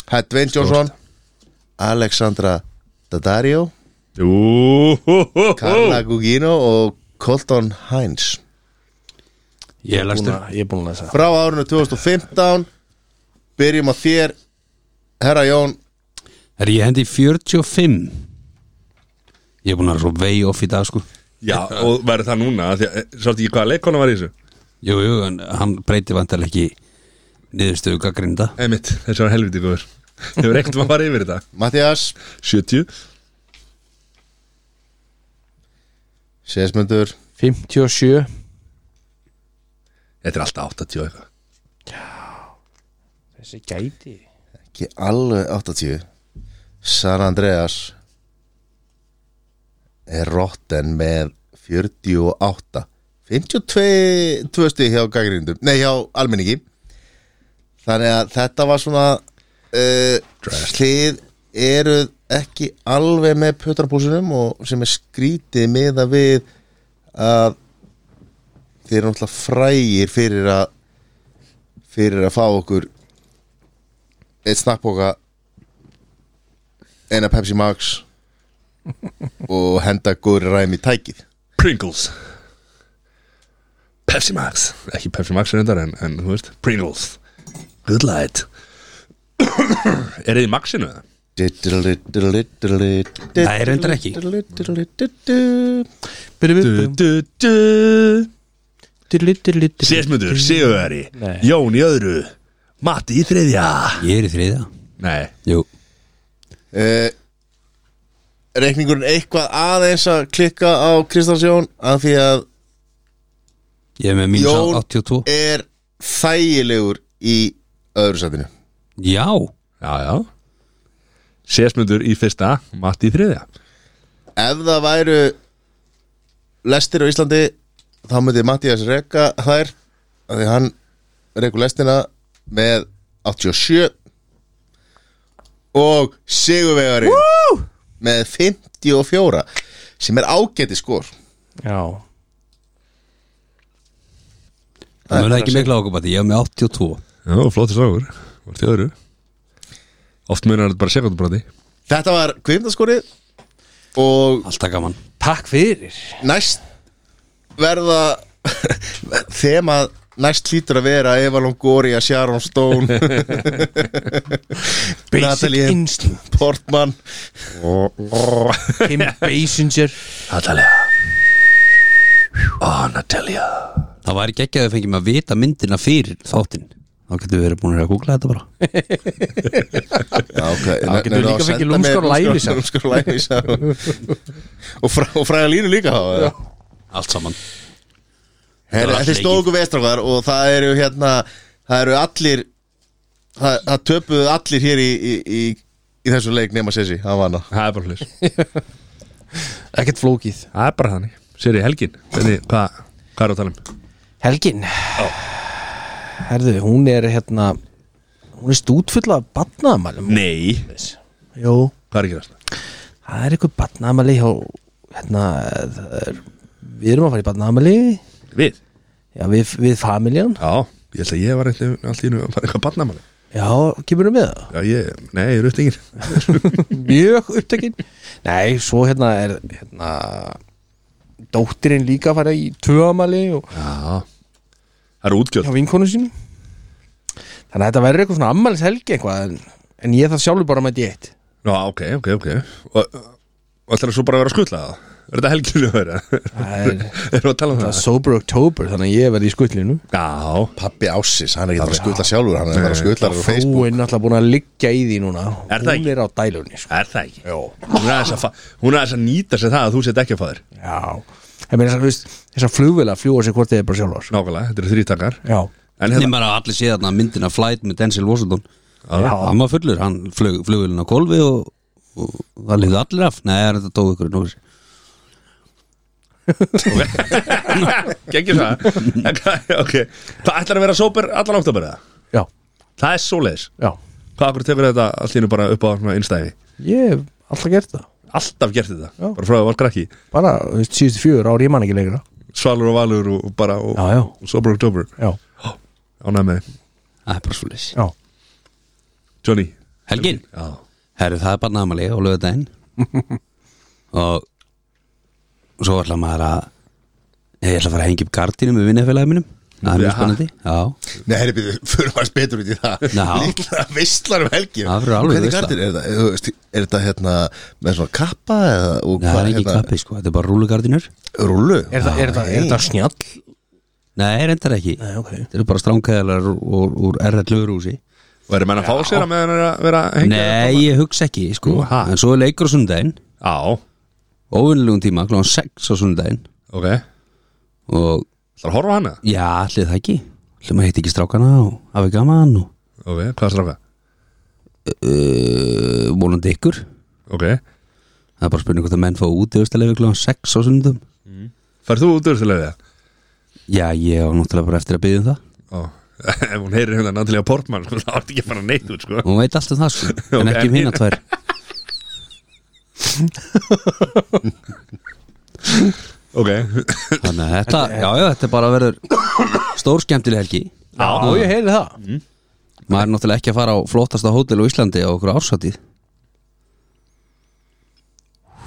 S4: Það er Dwayne Johnson, Alexandra Daddario
S1: Jú
S4: Carla Gugino og Colton Hines
S3: Ég er læstur
S2: Búna, Ég er búin að lesa
S4: frá árinu 2015 byrjum á þér herra Jón
S3: Herri, ég hendi í 45 Ég er búin að vera svo vei off í dag sko
S1: Já, og verður það núna af því að- eh, Svolítið ekki hvaða leikona var í þessu
S3: Jú, jú, en hann breyti vantar ekki niðurstöðu gaggrinda
S1: Einmitt, þessi var helviti góður Hefur ekkert maður farið yfir þetta
S4: Mattias,
S1: 70
S4: Sesmundur
S2: 57
S1: Þetta er alltaf 80 og eitthvað
S2: Þessi gæti
S4: Ekki alveg 80 San Andreas Er rotten með 48 52 tvö stig hjá gaggrindum Nei, hjá almenningi Þannig að þetta var svona uh, Þið eruð ekki alveg með pötarpúsunum og sem er skrítið með að við að þeir eru náttúrulega frægir fyrir að fyrir að fá okkur eitt snakkbóka eina Pepsi Max og henda góðri ræmi í tækið
S1: Pringles Pepsi Max Ekki Pepsi Max er þetta en, en þú veist Pringles Good light Er þið í Maxinu það?
S4: Nei,
S3: er reyndar ekki.
S1: Du, du Sérsmundur, Sigurveri
S2: Nei.
S1: Jón í öðru Matti í þriðja
S3: Ég er í þriða
S1: Nei
S3: Jú,
S4: uh, Reikningurinn eitthvað aðeins að klikka á Kristans Jón af því að
S3: ég er með mínus
S4: Jón
S3: 82
S4: er þægilegur í öðru sætinu
S3: Já,
S1: Já, já Sérsmundur í fyrsta Matti í þriðja
S4: Ef það væru lestir á Íslandi þá myndi Mattias reka þær af því hann rekur lestina með 87 og Sigurvegari með 54 sem er ágæti skor
S2: Já
S3: það mun ekki mikla ákvæm Ég er með 82
S1: Já, flóttir strákur Var því öðru Oft munar þetta bara sekundbroti
S4: Þetta var kvimtaskorið og
S3: Alltaf gaman
S2: Takk fyrir
S4: næst verða þema næst hlýtur að vera Eva Longoria, Sharon Stone Natalie.
S2: Instinct
S4: Portman
S2: Kim Basinger
S1: Natalia Oh, Natalia
S3: Það væri ekki ekki að þau fengjum að vita myndina fyrir þáttinn Þá getum við verið búin að googla þetta bara
S4: Já, okay.
S2: Já, getur líka fengið lúmskar og lævísa.
S4: Lúmskor og lævísa Og, fræ, og fræða línu líka þá eða?
S3: Allt saman
S4: Herri,
S3: allt
S4: Þetta er stóku vestrákar og það eru hérna Það eru allir Það, það töpuðu allir hér í, í, í, í þessum leik nema Sessi Hann var hana
S1: Það er bara hlis
S2: Ekkert flókið
S1: Það er bara þannig Sér í helgin Hvernig, hvað Hvað er að tala um?
S2: Helgin Herðu, hún er hérna Hún er stútfull af batnaðamælum
S1: Nei
S2: Jú
S1: Hvað er ekki það?
S2: Það er eitthvað batnaðamæli hjá hérna, það er, Við erum að fara í batnaðamæli
S1: Við?
S2: Já, við, við familjan
S1: Já Ég held að ég var eitthvað allt í nú að fara eitthvað barnamáli
S2: Já, kemur við með það
S1: Já, ég, nei, ég er út yngir
S2: mjög upptekinn Nei, svo hérna er hérna, dóttirinn líka að fara í tvöamali og
S1: Já Það eru útgjöld
S2: hjá vinkonu sín Þannig að þetta verður eitthvað svona ammælis helgi eitthvað en, en ég það sjálfur bara með diett
S1: Já, ok, ok, ok Og og ætlarðu svo bara að vera að skutla það? Er þetta helginu að vera?
S2: Það er
S1: Erum við að tala um
S2: það er
S1: það?
S2: sober oktober þannig að ég verði í skutlinu
S1: Já
S4: Pappi Ássis, hann er ekki bara að skutla sjálfur Hann er bara að skutla á Facebook
S2: Fóin alltaf búin að liggja í því núna
S1: Er það
S2: Hún
S1: ekki?
S2: er á dælunni sko.
S1: Er það ekki? Jó Hún er aðeins að, fa- hún er aðeins að nýta sér það að þú sett ekki að fæður
S2: Já En meina, þessar, þessar flugvila fljúa sér hvort þið er bara sko. sjálfur
S1: Nákvæmlega, þetta eru þrítakar
S2: Já
S1: En
S3: Nefnir
S1: hérna
S3: maður að allir sé þarna myndina Flight með Denzel Washington
S2: Já.
S3: Hann var fullur, hann flög, flugulinn á kolvi og, og það liði allir af Nei, þetta tók ykkur nú
S1: Gengjum það En hvað- Ok Það ætlar að vera sóper allan oktober eða?
S2: Já,
S1: Það er svoleiðis
S2: já
S1: Hvað akkur tefur þetta allt í nú bara upp á svona innstæði
S2: Ég hef alltaf gert það
S1: Alltaf gert þetta
S2: Já.
S1: Bara frá að það var krakki
S2: Bara, þú veist, síðustu fjögur ár, ég man ekki lengra
S1: Svalur og valur og og bara og,
S2: Já, já,
S1: og Sober October
S2: já,
S1: Ánæg með þig.
S3: Það er bara svolítið
S2: já
S1: Johnny
S3: Helgin,
S1: Já
S3: herru það er bara namali og lögðu daginn Og svo ætla maður að Ég ætla að fara að hengja upp gardinu með vinnafélagi mínum Það er mjög
S1: Jaha.
S3: spennandi Já,
S4: Nei, herri, byrju, fyrir maður betur út í það
S3: Já.
S4: Líkla veistlar um helgin
S3: Það verður alveg
S4: Hvernig
S3: veisla.
S4: gardir er það? Þú veist, er þetta hérna með svona kappa eða, og
S3: Nei, það er ekki
S4: hérna,
S3: kappi sko, þetta er bara rúlugardinur
S4: rúllu
S2: Er það, er það, er það snjall?
S3: Nei, reyndar ekki
S2: Nei, ok
S3: Þetta eru bara stránkæðalar úr, úr RL Lögrúsi
S1: Og erum menn að fá sér að meðan er að vera að hengja
S3: Nei, ég hugsa ekki sko
S1: Nú, ha?
S3: En svo er leikur á sundaginn
S1: Á,
S3: Óvinnilegum tíma, kl. 6 á sundaginn
S1: ok Það
S3: Og
S1: er að horfa á hana
S3: já, allir það ekki Allir maður hitt ekki strákana og hafi gaman og
S1: Ok, hvað stráka?
S3: uh, Volandi ykkur
S1: Ok
S3: Það er bara spurning hvort að menn fá út í östalegu kl. 6 á sundum
S1: Færð þú út úr þessu leiðið?
S3: Já, ég á náttúrulega bara eftir að byggja um það
S1: Ó Ef hún heyrir hérna Natalia Portman sko, þá átti ekki að fara neitt út sko
S3: Hún veit allt um það sko En
S1: Ok,
S3: ekki
S1: en-
S3: um hinna tvær
S1: Ok
S3: Þannig að þetta, já, já, þetta bara verður Stór skemmtileg helgi
S2: Já, ég heyri það
S3: Maður er náttúrulega ekki að fara á flottasta hótel á Íslandi á okkur ársatið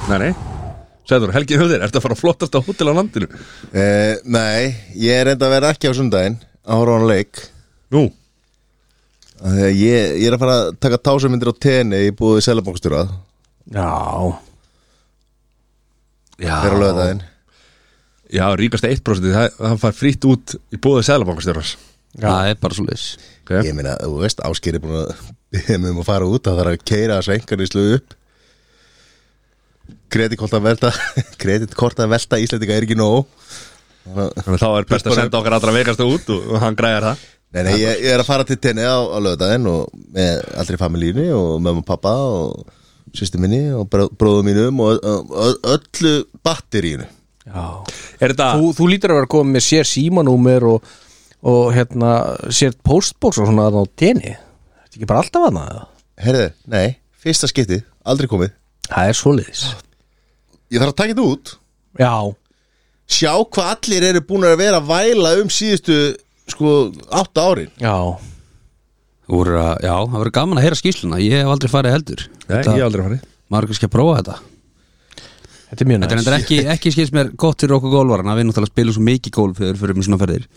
S1: Nei, nei Sæður, helgin hjá þér, ertu að fara á flottasta hótel á landinu
S4: Eh, Nei, ég er enda að vera ekki á sundaginn að horfa á hann leik
S1: Nú,
S4: Af því að ég, ég er að fara að taka tásumindir á tenni í búið selabankstjóra
S2: Já
S4: þegar
S1: já,
S4: lögða daginn
S1: já ríkasta 1% það, það fær frýtt út í bóðið sæðlabankastjóras
S3: Það er bara svo leis
S1: okay.
S4: Ég meina, þú veist, Ásker er búin að biðja mig um að fara út, það þarf að keira þess engan í sluðu upp Kreditkorta velta Kreditkorta velta Íslendinga er ekki nóg Þannig að-
S1: Þannig að þá er best að senda okkar allra veikasta út og, og hann græjar það
S4: Nei, nei, ég, ég er að fara til tenni á, á lögðaðinn og með allri familíni og mömmu og pappa og sýstu minni og bró, bróðu mínum og ö- ö- öllu batteríinu
S1: Er þetta,
S2: þú, þú lítur að vera komið með sér símanúmer og, og hérna, sér postbox og svona þarna á deni Þetta er ekki bara alltaf annað eða?
S4: Herðu, nei, fyrsta skipti, aldrei komið
S2: Það er svoleiðis
S4: Ég þarf að taka þetta út
S2: Já,
S4: Sjá hvað allir eru búin að vera að væla um síðustu, sko, átta árin
S2: já
S3: Úr, að- Já, það verður gaman að heyra skýsluna Ég hef aldrei farið heldur
S1: nei, ég hef aldrei farið
S3: Maður er kannski að prófa þetta
S2: Þetta er mjög
S3: Þetta er
S2: næst
S3: endur ekki, ekki skils mér gott fyrir okkur gólvarana Við náttúrulega spilum svo mikið gólf fyrir fyrir með svona ferðir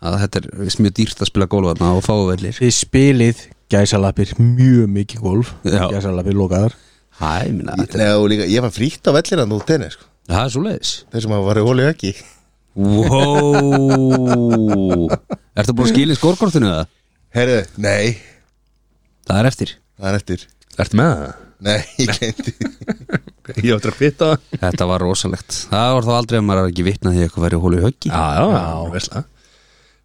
S3: að þetta er víst mjög dýrt að spila gólvarana og fávellir
S2: Þið spilið gæsalapir mjög mikið golf
S3: Já.
S2: Gæsalapir lokaðar
S3: Hæ, ég minna, þetta er,
S4: Nei, og líka, ég var frítt á vellir hann úr tenni, sko
S3: það er svo leis
S4: Þeir sem hafa farið hólið ekki
S3: Wow Ertu búin að skila í skórkortinu það?
S4: Herðu, nei,
S3: Það er eftir
S4: það er eftir
S1: Ertu með það?
S4: Nei, ég gleymdi
S1: Ég hef aldrei að fita það
S3: Þetta var rosalegt Það var þá aldrei að maður er ekki vitna því að eitthvað verið hólu í höggi
S1: Já, já, já, veistlega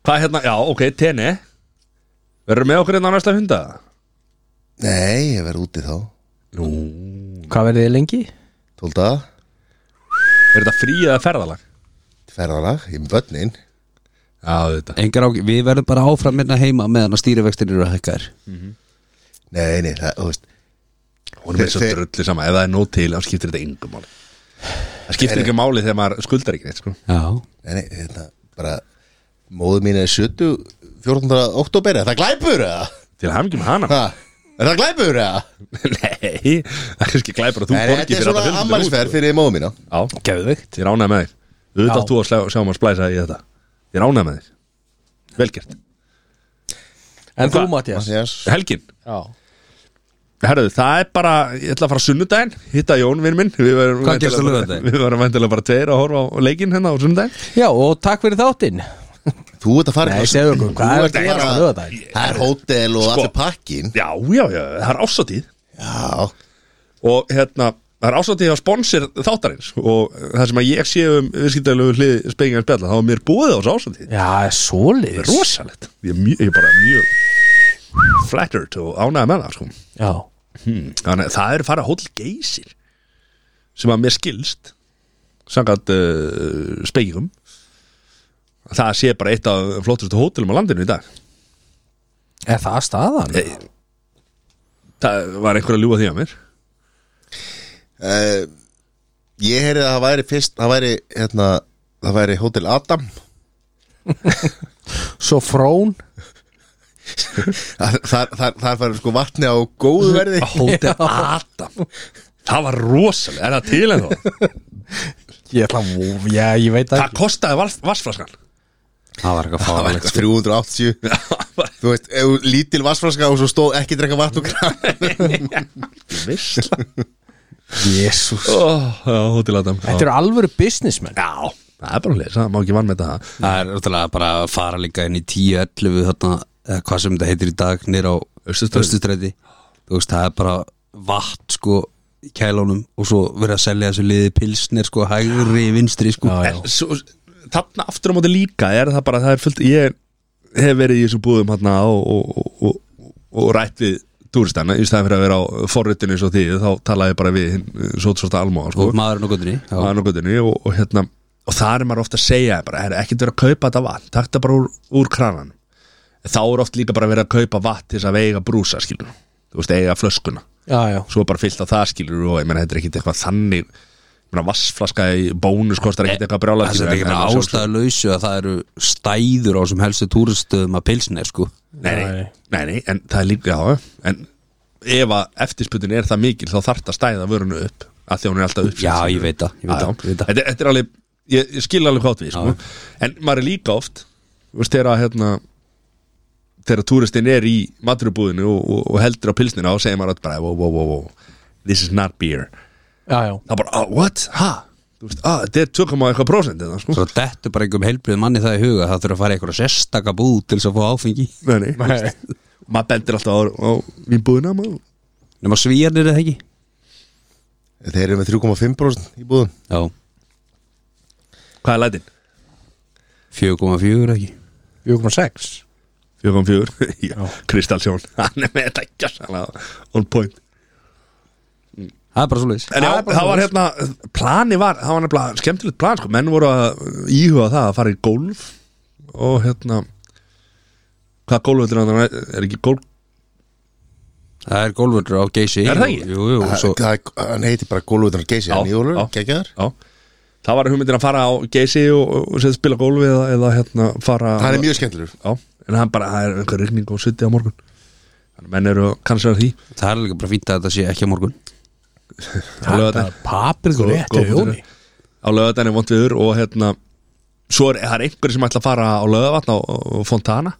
S1: Hvað hérna, já, ok, tenni Verður með okkur hérna á næsta funda?
S4: Nei, ég verð úti þá
S1: Nú
S2: Hvað verðið þið lengi?
S4: Tólda,
S1: Er þetta frí eða ferðalag?
S4: ferðalag, ég er með börnin
S1: Já, þetta
S3: Engar ágjur, við verðum bara áfram minna heima meðan að stýrivextir eru að hækka þér
S4: Nei, nei, það, þú veist
S1: Hún er
S4: Þe-
S1: svo
S4: þe-
S1: drullu sama, ef það er nóg til þá skiptir þetta yngum máli Það skiptir ekki máli þegar maður skuldar ekki neitt sko.
S3: Já
S4: Nei, nei, þetta, bara Móður mín er 70, 14. oktober Er það glæpur, eða?
S1: Til hamngjum hana
S4: Ha? Er það glæpur, eða?
S1: Nei, það er kannski glæpur að þú
S4: Nei, nei,
S1: borgi
S4: þetta er
S1: fyrir
S4: svona
S1: þetta
S4: ammælsferð fyrir móður mína
S1: Já,
S2: Gæðveikt
S1: sko. ég ránaði með þér Auðvitað átt þú að sjá, sjá maður splæsa í þetta Ég ránaði með þér Velgert
S2: En þú
S1: Hvað?
S2: Mattias?
S4: Yes.
S1: Helgin,
S2: Já
S1: herruðu, það er bara Ég ætla að fara á sunnudaginn, hitta Jón vinn minn Við verum
S3: Hvað gerstu
S1: væntanlega bara-
S3: laugardaginn?
S1: Við verum væntanlega bara tveir að horfa á leikinn hérna á sunnudaginn
S2: Já, og takk fyrir þáttinn
S4: Þú ert að fara
S2: Nei,
S4: eitthvað-
S2: segðu okkur, hvað
S4: Þú
S2: er
S4: ert
S2: að
S4: að
S2: gera á
S4: fara-
S2: laugardaginn?
S4: Það er hótel og allir pakkin
S1: Já, já, já, það er ásatíð
S4: Já,
S1: og hérna það er ásatíð á sponsor þáttarins og eh, það sem að ég sé um viðskiptælegu hlið spengjans bjalla, þá er mér búið á þessu ásatíð
S2: Já, svoleiðis
S1: rosalegt, ég er, mjö, ég er bara mjög flattered og ánægði með það sko.
S2: Já
S1: hmm. þannig að það er fara hóll geysir sem að mér skilst samkvæmt uh, spegjum það sé bara eitt af flottustu hótelum á landinu í dag
S2: Er það staðan?
S1: Nei. það var einhver að ljúga því að mér
S4: uh, ég heyrði að það væri fyrst það væri, hérna, það væri Hotel Adam
S2: Svo frón
S4: þar, þar, þar, þar færi sko vatni á góðu verði
S1: Hótel Adam það var rosalega, er það til en þó
S2: Ég ætla að, já, ég veit að
S1: Það kostaði vass, vassflaskan
S3: Það var eitthvað
S4: Það var
S3: fárlegt
S4: eitthvað
S3: sko.
S4: 380 Þú veist, ef þú lítil vassfraska og svo stóð ekki drekka vatn og grann
S1: Vissla
S4: Jésús
S1: Já, hótilatam
S2: Þetta eru alvöru businessmenn
S1: Já, það er bara hlýs, það má ekki vann með það
S3: Það er náttúrulega bara að fara líka inn í 10-11 þarna, eða hvað sem þetta heitir í dag nýr á
S1: Austurstræti.
S3: Östustræti Þú veist, það er bara vatn sko í kælunum og svo verið að selja þessu liði pilsnir sko, hægri, vinstri sko
S1: En svo, þarna aftur á móti líka er það bara, það er fullt Ég hef verið í þessum búðum hérna og, og, og, og, og rætt við túristana Í staðan fyrir að vera á forritinu eins og því Þá talaði ég bara við hinn sótsorta almóa sko.
S3: og maðurinn á gottinni
S1: á annargötunni og, og hérna og það er maður ofta að segja bara, er ekkert verið að kaupa þetta vatn, takk það bara úr, úr kranan þá er oft líka bara verið að kaupa vatn til þess að veiga brúsa skilur þú veist, eiga flöskuna,
S2: Já, já
S1: svo bara fyllt á það skilur og ég menn, þetta er ekkert eitthvað þannig ég menn, vassflaska í bónus kostar ekkert eitthvað brjála
S3: Eh, Það er ekki með ástæðuleysu að það eru stæður á sem helstu túristöðum að pilsnir sko
S1: nei, nei, nei, nei, en það er líka já, en ef að eftirspunni er það mikil þá þarf það að stæða vörunu upp að því að hún er alltaf upp
S3: Já, ég veit það, ég veit
S1: Já,
S3: það, ég veit það.
S1: þetta, þetta er alveg ég, ég skil alveg hvað við sko. en maður er líka oft þú veist, þegar að, hérna, þegar túristinn er í maturubúðinu og, og, og heldur á pilsnina og segir maður alltaf bara wow, wow, wow, wow, this is not beer
S2: Já, já
S1: þá bara, oh, what, ha Þú veist, ah, þetta er tökum á eitthvað prósent þetta, sko.
S3: Svo dettur bara einhverjum heilbrið manni það í huga Það þurfa að fara í eitthvað sérstaka búð til þess að fá áfengi
S1: Nei, nei, þú veist. maður bendir alltaf á, á vínbúðina maður.
S3: Nefna svíjarnir eða ekki
S4: Þeir eru með 3,5% í búðum
S3: Já,
S1: hvað er lætin?
S3: 4,4 ekki
S2: 4,6
S1: 4.4 Kristalsjón, hann er með þetta ekki on point
S3: Það er bara svo leiðis
S1: En já, það var hérna, plani var, það var nefnilega skemmtilegt plan, sko, menn voru að íhuga það að fara í golf og hérna, hvað golfvöldur er, þarna? er ekki golf,
S3: Það er gólvöldur á geysi
S1: Er það ekki?
S3: Jú, jú, og svo
S4: Það- það- Hann heitir bara gólvöldunar geysi
S1: Já,
S4: Hann í
S1: já.
S4: Ólfur, geggjaðar
S1: já, það var hugmyndin að fara á geysi og, og, og setja spila golfi eða, eða hérna fara
S4: Hann er mjög skemmtilegur
S1: Já, en hann bara, það er einhver rigning og sutti á morgun, þannig menn eru kannski að því,
S3: Það er líka bara fínt að þetta sé ekki á morgun
S1: á lögadaginn
S2: Paprikur
S1: Góð-
S2: rétt
S1: góð
S2: og jóni
S1: punktur. á lögadaginn er vond viður og hérna, svo er, það er einhverjir sem ætla að fara á lögavatn og, og fontana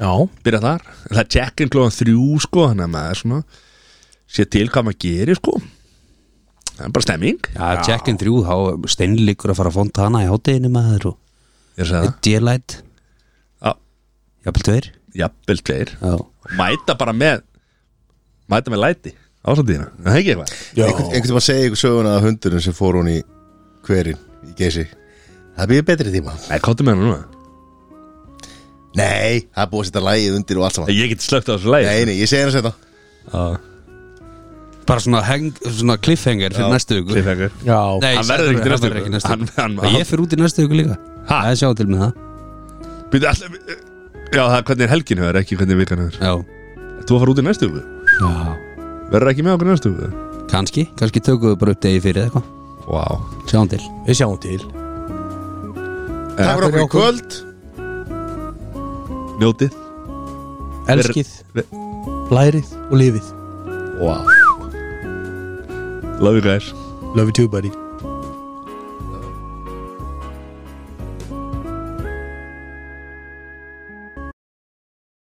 S2: Já,
S1: byrja þar En það er check-in klóðan þrjú sko þannig að maður svona sé til hvað maður gerir sko það er bara stemming
S3: Já, check-in þrjú, þá steinlíkur að fara að fonda hana í hátteginu maður og
S1: ég er að segja það
S3: D-light,
S1: Já,
S3: jafnvel tveir
S1: jafnvel tveir
S3: Já,
S1: mæta bara með mæta með læti ásatíðina það er ekki eitthvað
S4: Einhvern einhvern veginn að segja ykkur söguna að hundurinn sem fór hún í hverinn í geysi Það býður betri tíma
S1: nei, káttu með hana núna
S4: Nei, það er búið að setja lægið undir og allt saman
S1: ég get slögt á þessu læti
S4: Nei, nei, ég segi hann að setja
S3: bara svona, hang, svona cliffhanger fyrir næstu viku
S1: Cliffhanger.
S2: já
S3: Nei,
S1: Hann verður ekkert í næstu
S3: hann verður
S1: viku.
S3: ekki næstu
S1: Hann-
S3: viku
S1: hann-
S3: En Ég fyrir út í næstu viku líka
S1: Ha?
S3: Það er sjá til með það
S1: Býtu, ætla- já, það er hvernig helgin hefur ekki hvernig vikan hefur
S3: Já,
S1: þú að fara út í næstu hugu
S3: já
S1: verður ekki með okkur í næstu hugu
S3: Kanski, kannski tökum við bara upp degi fyrir eða eitthvað
S1: wow.
S3: Sjáum til
S2: Við sjáum til
S4: Það var okkur í kvöld
S1: njótið
S2: Elskið,
S1: ver-
S2: lærið og lifið
S1: wow. love you guys
S2: Love you too buddy